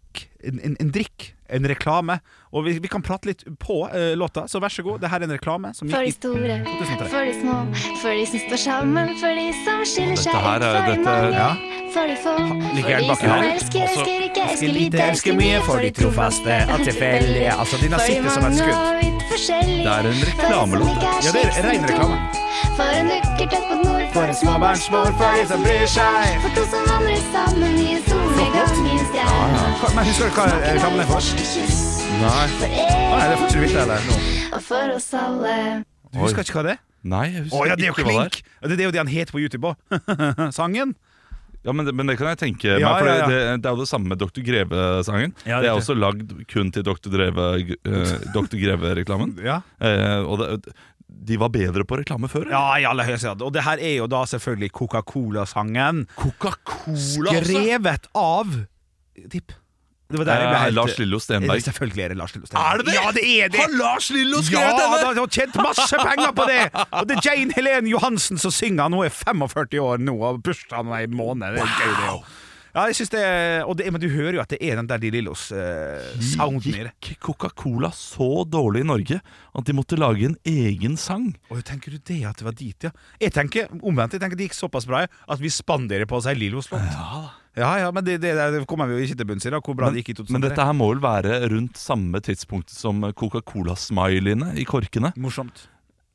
Speaker 3: En, en, en drikk, en reklame. Og vi, vi kan prate litt på eh, låta, så vær så god. Det her er en reklame som
Speaker 9: For de
Speaker 3: gikk i
Speaker 9: store,
Speaker 3: 2003.
Speaker 9: for de små, for de som står sammen, for de som skiller seg
Speaker 4: Dette her
Speaker 9: ut,
Speaker 4: er-
Speaker 9: for
Speaker 4: dette-
Speaker 9: mange,
Speaker 3: ja.
Speaker 9: for de få.
Speaker 3: ligger
Speaker 9: For
Speaker 3: den
Speaker 9: de
Speaker 3: bak
Speaker 9: som
Speaker 3: her.
Speaker 9: elsker,
Speaker 3: Altså,
Speaker 9: elsker ikke, elsker
Speaker 3: elsker lite,
Speaker 9: lite,
Speaker 3: elsker mye, for de trofaste, og tilfeldige. Altså, den har
Speaker 9: for de
Speaker 3: sittet som et
Speaker 9: mange
Speaker 3: skudd.
Speaker 9: og vidt forskjellige,
Speaker 4: Det er en
Speaker 9: for de som
Speaker 4: reklamelåt,
Speaker 9: ikke
Speaker 3: Ja, det er
Speaker 9: slitne
Speaker 3: ren
Speaker 9: to.
Speaker 3: reklame.
Speaker 9: For en lykketøtt mot nord, for en småbarnsmor, for de som bryr seg. For to som vandrer sammen i en solnedgangens greie.
Speaker 3: Hva- Men husker du hva eh, reklamen er for? Nei. Nei, det får ikke du vite heller. nå.
Speaker 9: Og for oss alle.
Speaker 3: Du husker ikke hva det er?
Speaker 4: Nei, jeg
Speaker 3: Å
Speaker 4: husker
Speaker 3: ja, det er jo
Speaker 4: ikke hva det er.
Speaker 3: klink! Det er jo det han het på YouTube òg. Sangen.
Speaker 4: Ja, men det, men det kan jeg tenke
Speaker 3: Ja,
Speaker 4: meg, for
Speaker 3: ja, ja.
Speaker 4: Det, det er jo det samme med Dr. Greve-sangen.
Speaker 3: Ja, riktig.
Speaker 4: det er også lagd kun til Dr. Greve, eh, Dr. Greve-reklamen.
Speaker 3: Ja.
Speaker 4: Eh, og det, de var bedre på reklame før. eller?
Speaker 3: Ja, i aller høyeste grad. Og det her er jo da selvfølgelig Coca-Cola-sangen.
Speaker 4: Coca-Cola, altså?
Speaker 3: Skrevet av Tipp. Det var der jeg ble
Speaker 4: Eh,
Speaker 3: helt-
Speaker 4: Lars Lillo Stenberg.
Speaker 3: Selvfølgelig er det Lars Lillo
Speaker 4: Er det det?
Speaker 3: Ja, det er det!
Speaker 4: Har Lars Lillo
Speaker 3: ja,
Speaker 4: skrevet denne?
Speaker 3: da- de har tjent masse penger på det! Og det er Jane Helene Johansen som synger. Hun er 45 år nå og har bursdag om ei måned. Det er gøy, det jo. Ja, jeg synes det er, og det, men du hører jo at det er den der De Lillos eh, sounden i det.
Speaker 4: Gikk Coca-Cola så dårlig i Norge at de måtte lage en egen sang?
Speaker 3: Oi, tenker du det at det var dit, ja? Jeg tenker omvendt. jeg tenker Det gikk såpass bra at vi spanderer på oss ei Lillos-låt. Ja, ja, men det, det, det kommer vi jo ikke til bunns i, da, hvor bra
Speaker 4: Men,
Speaker 3: det gikk i 2003.
Speaker 4: men dette her må vel være rundt samme tidspunkt som Coca-Cola-smileyene i korkene?
Speaker 3: Morsomt.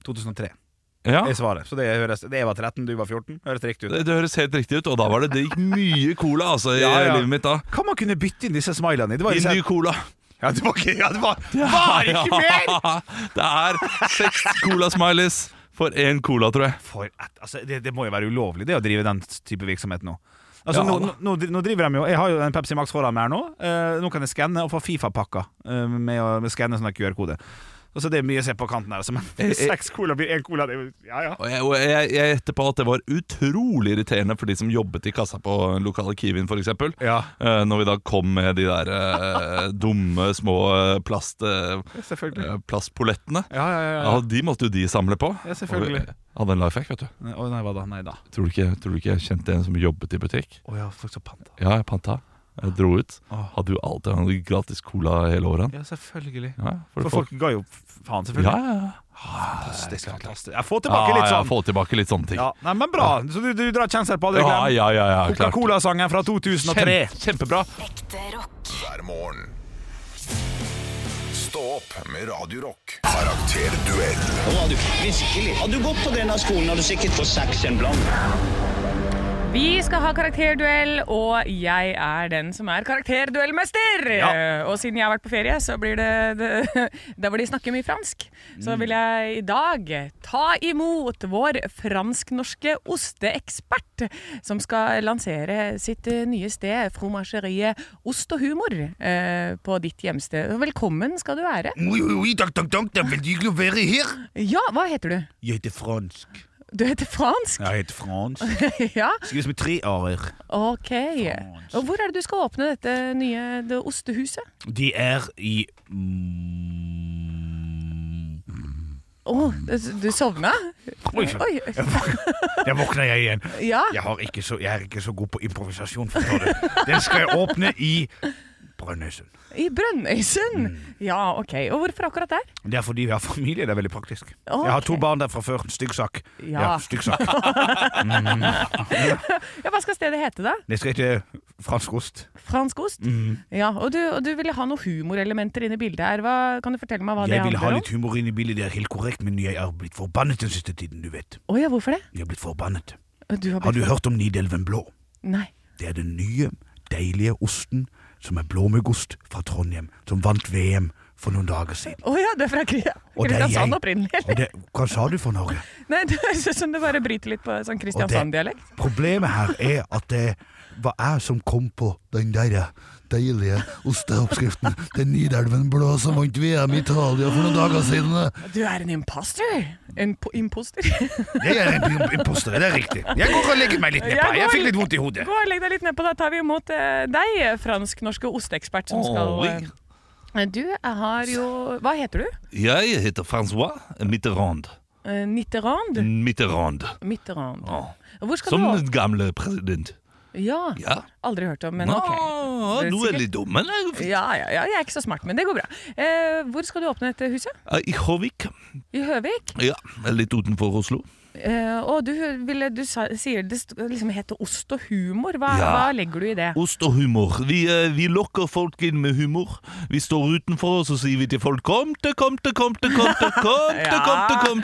Speaker 3: 2003
Speaker 4: Ja.
Speaker 3: er svaret. Så det, høres, det var 13, du var 14. Høres riktig ut.
Speaker 4: Det, det høres helt riktig ut, og da var det, det gikk mye cola altså, i
Speaker 3: Ja, ja.
Speaker 4: eh, livet mitt da.
Speaker 3: Kan man kunne bytte inn disse smilene i? Det var
Speaker 4: I
Speaker 3: disse-
Speaker 4: ny cola.
Speaker 3: Ja, det var ikke, ja, det var, var ikke mer!
Speaker 4: Det er seks cola-smileys for én cola, tror jeg.
Speaker 3: For et, altså, det, det må jo være ulovlig det å drive den type virksomhet nå. Altså,
Speaker 4: Ja,
Speaker 3: nå,
Speaker 4: da.
Speaker 3: nå, nå driver de jo Jeg har jo en Pepsi Max foran meg her nå. Eh, nå kan jeg skanne og få Fifa-pakka eh, med å med å skanne sånn QR-kode. Altså, det er mye å se på kanten her, altså,
Speaker 4: Eh, eh.
Speaker 3: men seks cola blir én cola. Det, er jo- ja, ja.
Speaker 4: Og jeg- og jeg jeg gjetter på at det var utrolig irriterende for de som jobbet i kassa på den lokale Kiwien f.eks.
Speaker 3: Ja.
Speaker 4: Eh, Når vi da kom med de der eh, dumme små eh, plast, eh,
Speaker 3: Selvfølgelig.
Speaker 4: eh, plastpolettene.
Speaker 3: Ja, ja, ja, ja.
Speaker 4: Ja, de måtte jo de samle på.
Speaker 3: Ja, selvfølgelig.
Speaker 4: Og vi hadde en life hack, vet du.
Speaker 3: Å nei, hva da? Nei da.
Speaker 4: Tror du ikke, tror du ikke jeg kjente en som jobbet i butikk?
Speaker 3: Å ja, folk så panta.
Speaker 4: Ja, jeg panta. Jeg dro ut. Hadde jo alltid han hadde gratis cola hele året.
Speaker 3: Ja, selvfølgelig.
Speaker 4: Ja,
Speaker 3: for
Speaker 4: for
Speaker 3: folk,
Speaker 4: folk-
Speaker 3: ga jo f- faen, selvfølgelig.
Speaker 4: Ja, ja, ja.
Speaker 3: Fantastisk. fantastisk. Jeg får tilbake litt
Speaker 4: Ja, ja,
Speaker 3: sånn.
Speaker 4: få tilbake litt sånne ting.
Speaker 3: Ja, nei, men bra. Så du, du drar kjensel på alle
Speaker 4: Ja,
Speaker 3: glem.
Speaker 4: ja, ja, ja, klart.
Speaker 3: Coca-Cola-sangen fra 2003.
Speaker 4: kjempebra.
Speaker 1: Hver morgen. Stå opp med Radio Rock. Karakterduell.
Speaker 10: Nå var du virkelig. Hadde du gått på denne skolen, hadde du sikkert fått seks en blant.
Speaker 2: Vi skal ha karakterduell, og jeg er den som er karakterduellmester.
Speaker 10: Ja.
Speaker 2: Eh, Og siden jeg har vært på ferie, så blir det, det der hvor de snakker mye fransk, så
Speaker 10: Mm.
Speaker 2: vil jeg i dag ta imot vår fransk-norske osteekspert, som skal lansere sitt eh, nye sted, fromageriet Ost og humor, eh, på ditt hjemsted. Velkommen skal du være.
Speaker 11: Oi, oi, oi, takk, takk, takk, det er veldig hyggelig å være her.
Speaker 2: Ja, hva heter du?
Speaker 11: Jeg heter Fransk.
Speaker 2: Du heter fransk?
Speaker 11: Jeg heter Fransk.
Speaker 2: ja.
Speaker 11: Skrives med tre a-er.
Speaker 2: Ok. Og hvor er det du skal åpne dette nye det ostehuset?
Speaker 11: De er i Mm.
Speaker 2: Å, du- du sovna?
Speaker 11: Oi, sann.
Speaker 2: Oi.
Speaker 11: Der våkner jeg igjen.
Speaker 2: Ja.
Speaker 11: Jeg, har ikke så, jeg er ikke så god på improvisasjon, forstår du. Den skal jeg åpne i Brønnøysund.
Speaker 2: I Brønnøysund?
Speaker 11: Mm.
Speaker 2: Ja, OK. Og hvorfor akkurat der?
Speaker 11: Det er fordi vi har familie, det er veldig praktisk.
Speaker 2: Ok.
Speaker 11: Jeg har to barn der fra før. Stygg sak.
Speaker 2: Ja.
Speaker 11: stygg sak. Mm.
Speaker 2: Ja, Hva skal stedet hete, da?
Speaker 11: Det skal hete fransk ost.
Speaker 2: Fransk ost?
Speaker 11: Mm.
Speaker 2: Ja, og du, og du ville ha noen humorelementer inn i bildet her. Hva, kan du fortelle meg hva
Speaker 11: Jeg
Speaker 2: det
Speaker 11: vil ha
Speaker 2: handler
Speaker 11: litt humor inn i bildet, det er helt korrekt, men jeg er blitt forbannet den siste tiden, du vet.
Speaker 2: om? Å ja, hvorfor det?
Speaker 11: Jeg er blitt forbannet.
Speaker 2: Du har, blitt-
Speaker 11: Har du hørt om Nidelven Blå?
Speaker 2: Nei.
Speaker 11: Det er den nye, deilige osten som er blåmuggost fra Trondheim, som vant VM for noen dager siden.
Speaker 2: Å ja, det er fra Kri-
Speaker 11: Og det er jeg.
Speaker 2: Kristiansand opprinnelig,
Speaker 11: Og
Speaker 2: eller?
Speaker 11: det, hva sa du for Norge?
Speaker 2: Nei, det høres ut som det bare bryter litt på sånn Kristiansand-dialekt.
Speaker 11: Problemet her er at det var jeg som kom på den derre deilige osteoppskriften til Nidelven Blå som vant VM i Italia for noen dager siden. eh?
Speaker 2: Du er en imposter! En po imposter?
Speaker 11: Jeg er en pim- imposter, det er riktig. Jeg går og legger meg litt nedpå. Jeg fikk litt vondt i hodet.
Speaker 2: Gå og legg deg litt nedpå, da tar vi imot eh, deg, fransk-norske osteekspert som skal
Speaker 4: Oi.
Speaker 2: eh, Du har jo Hva heter du?
Speaker 4: Jeg heter Francois Mitterrand.
Speaker 2: Eh, Mitterrand?
Speaker 4: Mitterrand.
Speaker 2: Mitterrand.
Speaker 4: Ja.
Speaker 2: Hvor skal
Speaker 4: Som
Speaker 2: du
Speaker 4: den gamle president.
Speaker 2: Ja.
Speaker 4: Ja.
Speaker 2: Aldri hørt om, men
Speaker 4: Nå,
Speaker 2: ok. Det
Speaker 4: du er
Speaker 2: sikkert-
Speaker 4: litt dum, men det er jo fint.
Speaker 2: Ja, ja, ja, jeg er ikke så smart, men det går bra. Eh, hvor skal du åpne dette huset?
Speaker 4: Eh, I Håvik.
Speaker 2: I Høvik?
Speaker 4: Ja, litt utenfor Oslo.
Speaker 2: Eh, og du, ville, du sa, sier det st- liksom heter ost og humor. Hva,
Speaker 4: Ja.
Speaker 2: hva legger du i det?
Speaker 4: Ost og humor. Vi, eh, vi lokker folk inn med humor. Vi står utenfor, og så sier vi til folk 'kom te, kom te, kom te, kom te, kom te, kom te'. Kom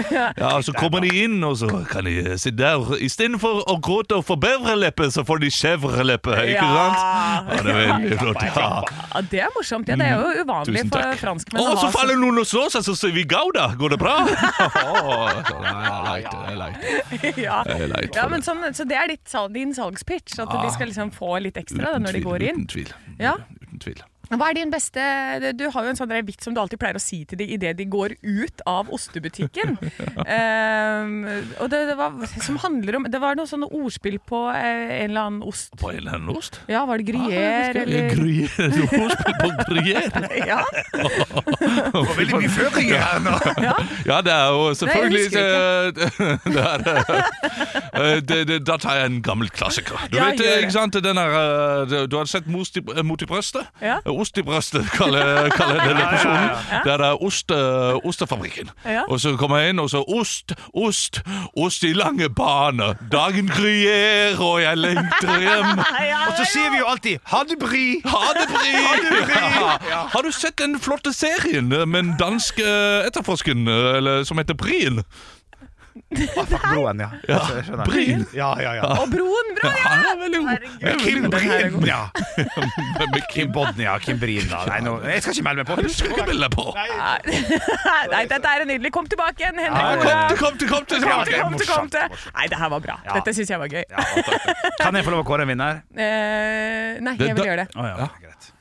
Speaker 4: te. Ja, Så kommer de inn, og så kan de eh, sitte der. Istedenfor å gråte og få bevrelepper, så får de skjevrelepper, ikke
Speaker 2: Ja.
Speaker 4: sant? Ja, det er veldig flott. Ja.
Speaker 2: Ja, det er morsomt. Ja, det er jo uvanlig
Speaker 4: Mm. Tusen
Speaker 2: for
Speaker 4: takk.
Speaker 2: franskmenn
Speaker 4: Å,
Speaker 2: å ha
Speaker 4: så
Speaker 2: sånn-
Speaker 4: faller noen og slår seg, så sier vi 'gouda'. Går det bra? Å, sånn, ja, leit, det er leit.
Speaker 2: ja.
Speaker 4: Jeg er leit for
Speaker 2: ja, men sånn, så det er ditt, sal- din salgspitch, at
Speaker 4: Ah.
Speaker 2: de skal liksom få litt ekstra da,
Speaker 4: Uten
Speaker 2: når de
Speaker 4: tvil,
Speaker 2: går inn.
Speaker 4: Uten tvil.
Speaker 2: Ja.
Speaker 4: Uten tvil.
Speaker 2: Hva er din beste Du har jo en sånn der vits som du alltid pleier å si til dem idet de går ut av ostebutikken. Ehm, og det, det var som handler om Det var noe sånne ordspill på eh, en eller annen ost.
Speaker 4: På en eller annen ost?
Speaker 2: Ja, var det
Speaker 4: Ah,
Speaker 2: gruyère eller
Speaker 4: Gruyère? Du har spilt på gruyère?
Speaker 2: Ja.
Speaker 4: Det var veldig mye føringer her nå. Ja, det er jo selvfølgelig
Speaker 2: Nei,
Speaker 4: eh, det er, eh, det, det, Da tar jeg en gammel klassiker. Du
Speaker 2: Ja,
Speaker 4: vet,
Speaker 2: gjør det.
Speaker 4: ikke sant, den her eh, du- Du har sett Most i, eh, Mot i brøstet?
Speaker 2: Ja.
Speaker 4: Eh, Ost i brøstet, kaller, kaller
Speaker 2: Ja, ja,
Speaker 4: denne
Speaker 2: ja.
Speaker 4: personen.
Speaker 2: Ja.
Speaker 4: Der det er ost, eh, Ostefabrikken.
Speaker 2: Ja.
Speaker 4: Og så kommer jeg inn, og så Ost, ost, ost i lange baner. Dagen gryer, og jeg lengter hjem.
Speaker 3: Og så sier vi jo alltid 'ha det bri'.
Speaker 4: Ha det, Bri!
Speaker 3: Ha det, Bri!
Speaker 4: Ja. Har du sett den flotte serien eh, med en dansk eh, etterforsken eh, eller, som heter Brien?
Speaker 3: Broen, ja.
Speaker 4: Ja,
Speaker 3: Altså, jeg skjønner.
Speaker 4: Brien.
Speaker 3: Ja, ja, ja.
Speaker 2: Og broen, bra! Ja, veldig god.
Speaker 3: Kim Brien, ja.
Speaker 4: Kim
Speaker 3: Bodnia, Kim Brien, da. Nei, nå, jeg skal ikke melde meg på.
Speaker 4: Du skal ikke melde deg på.
Speaker 2: Nei, dette er nydelig. Kom tilbake igjen,
Speaker 3: Ja,
Speaker 2: Henrik
Speaker 3: kom
Speaker 2: Olav.
Speaker 3: til, kom til, kom til.
Speaker 2: Kom til,
Speaker 3: Ja, ok,
Speaker 2: kom til, kom til. Nei, det her var bra.
Speaker 3: Ja.
Speaker 2: Dette syns jeg var gøy.
Speaker 3: Kan jeg få lov å kåre en vinner?
Speaker 2: Eh, nei, jeg vil gjøre det.
Speaker 3: Å, ja, greit.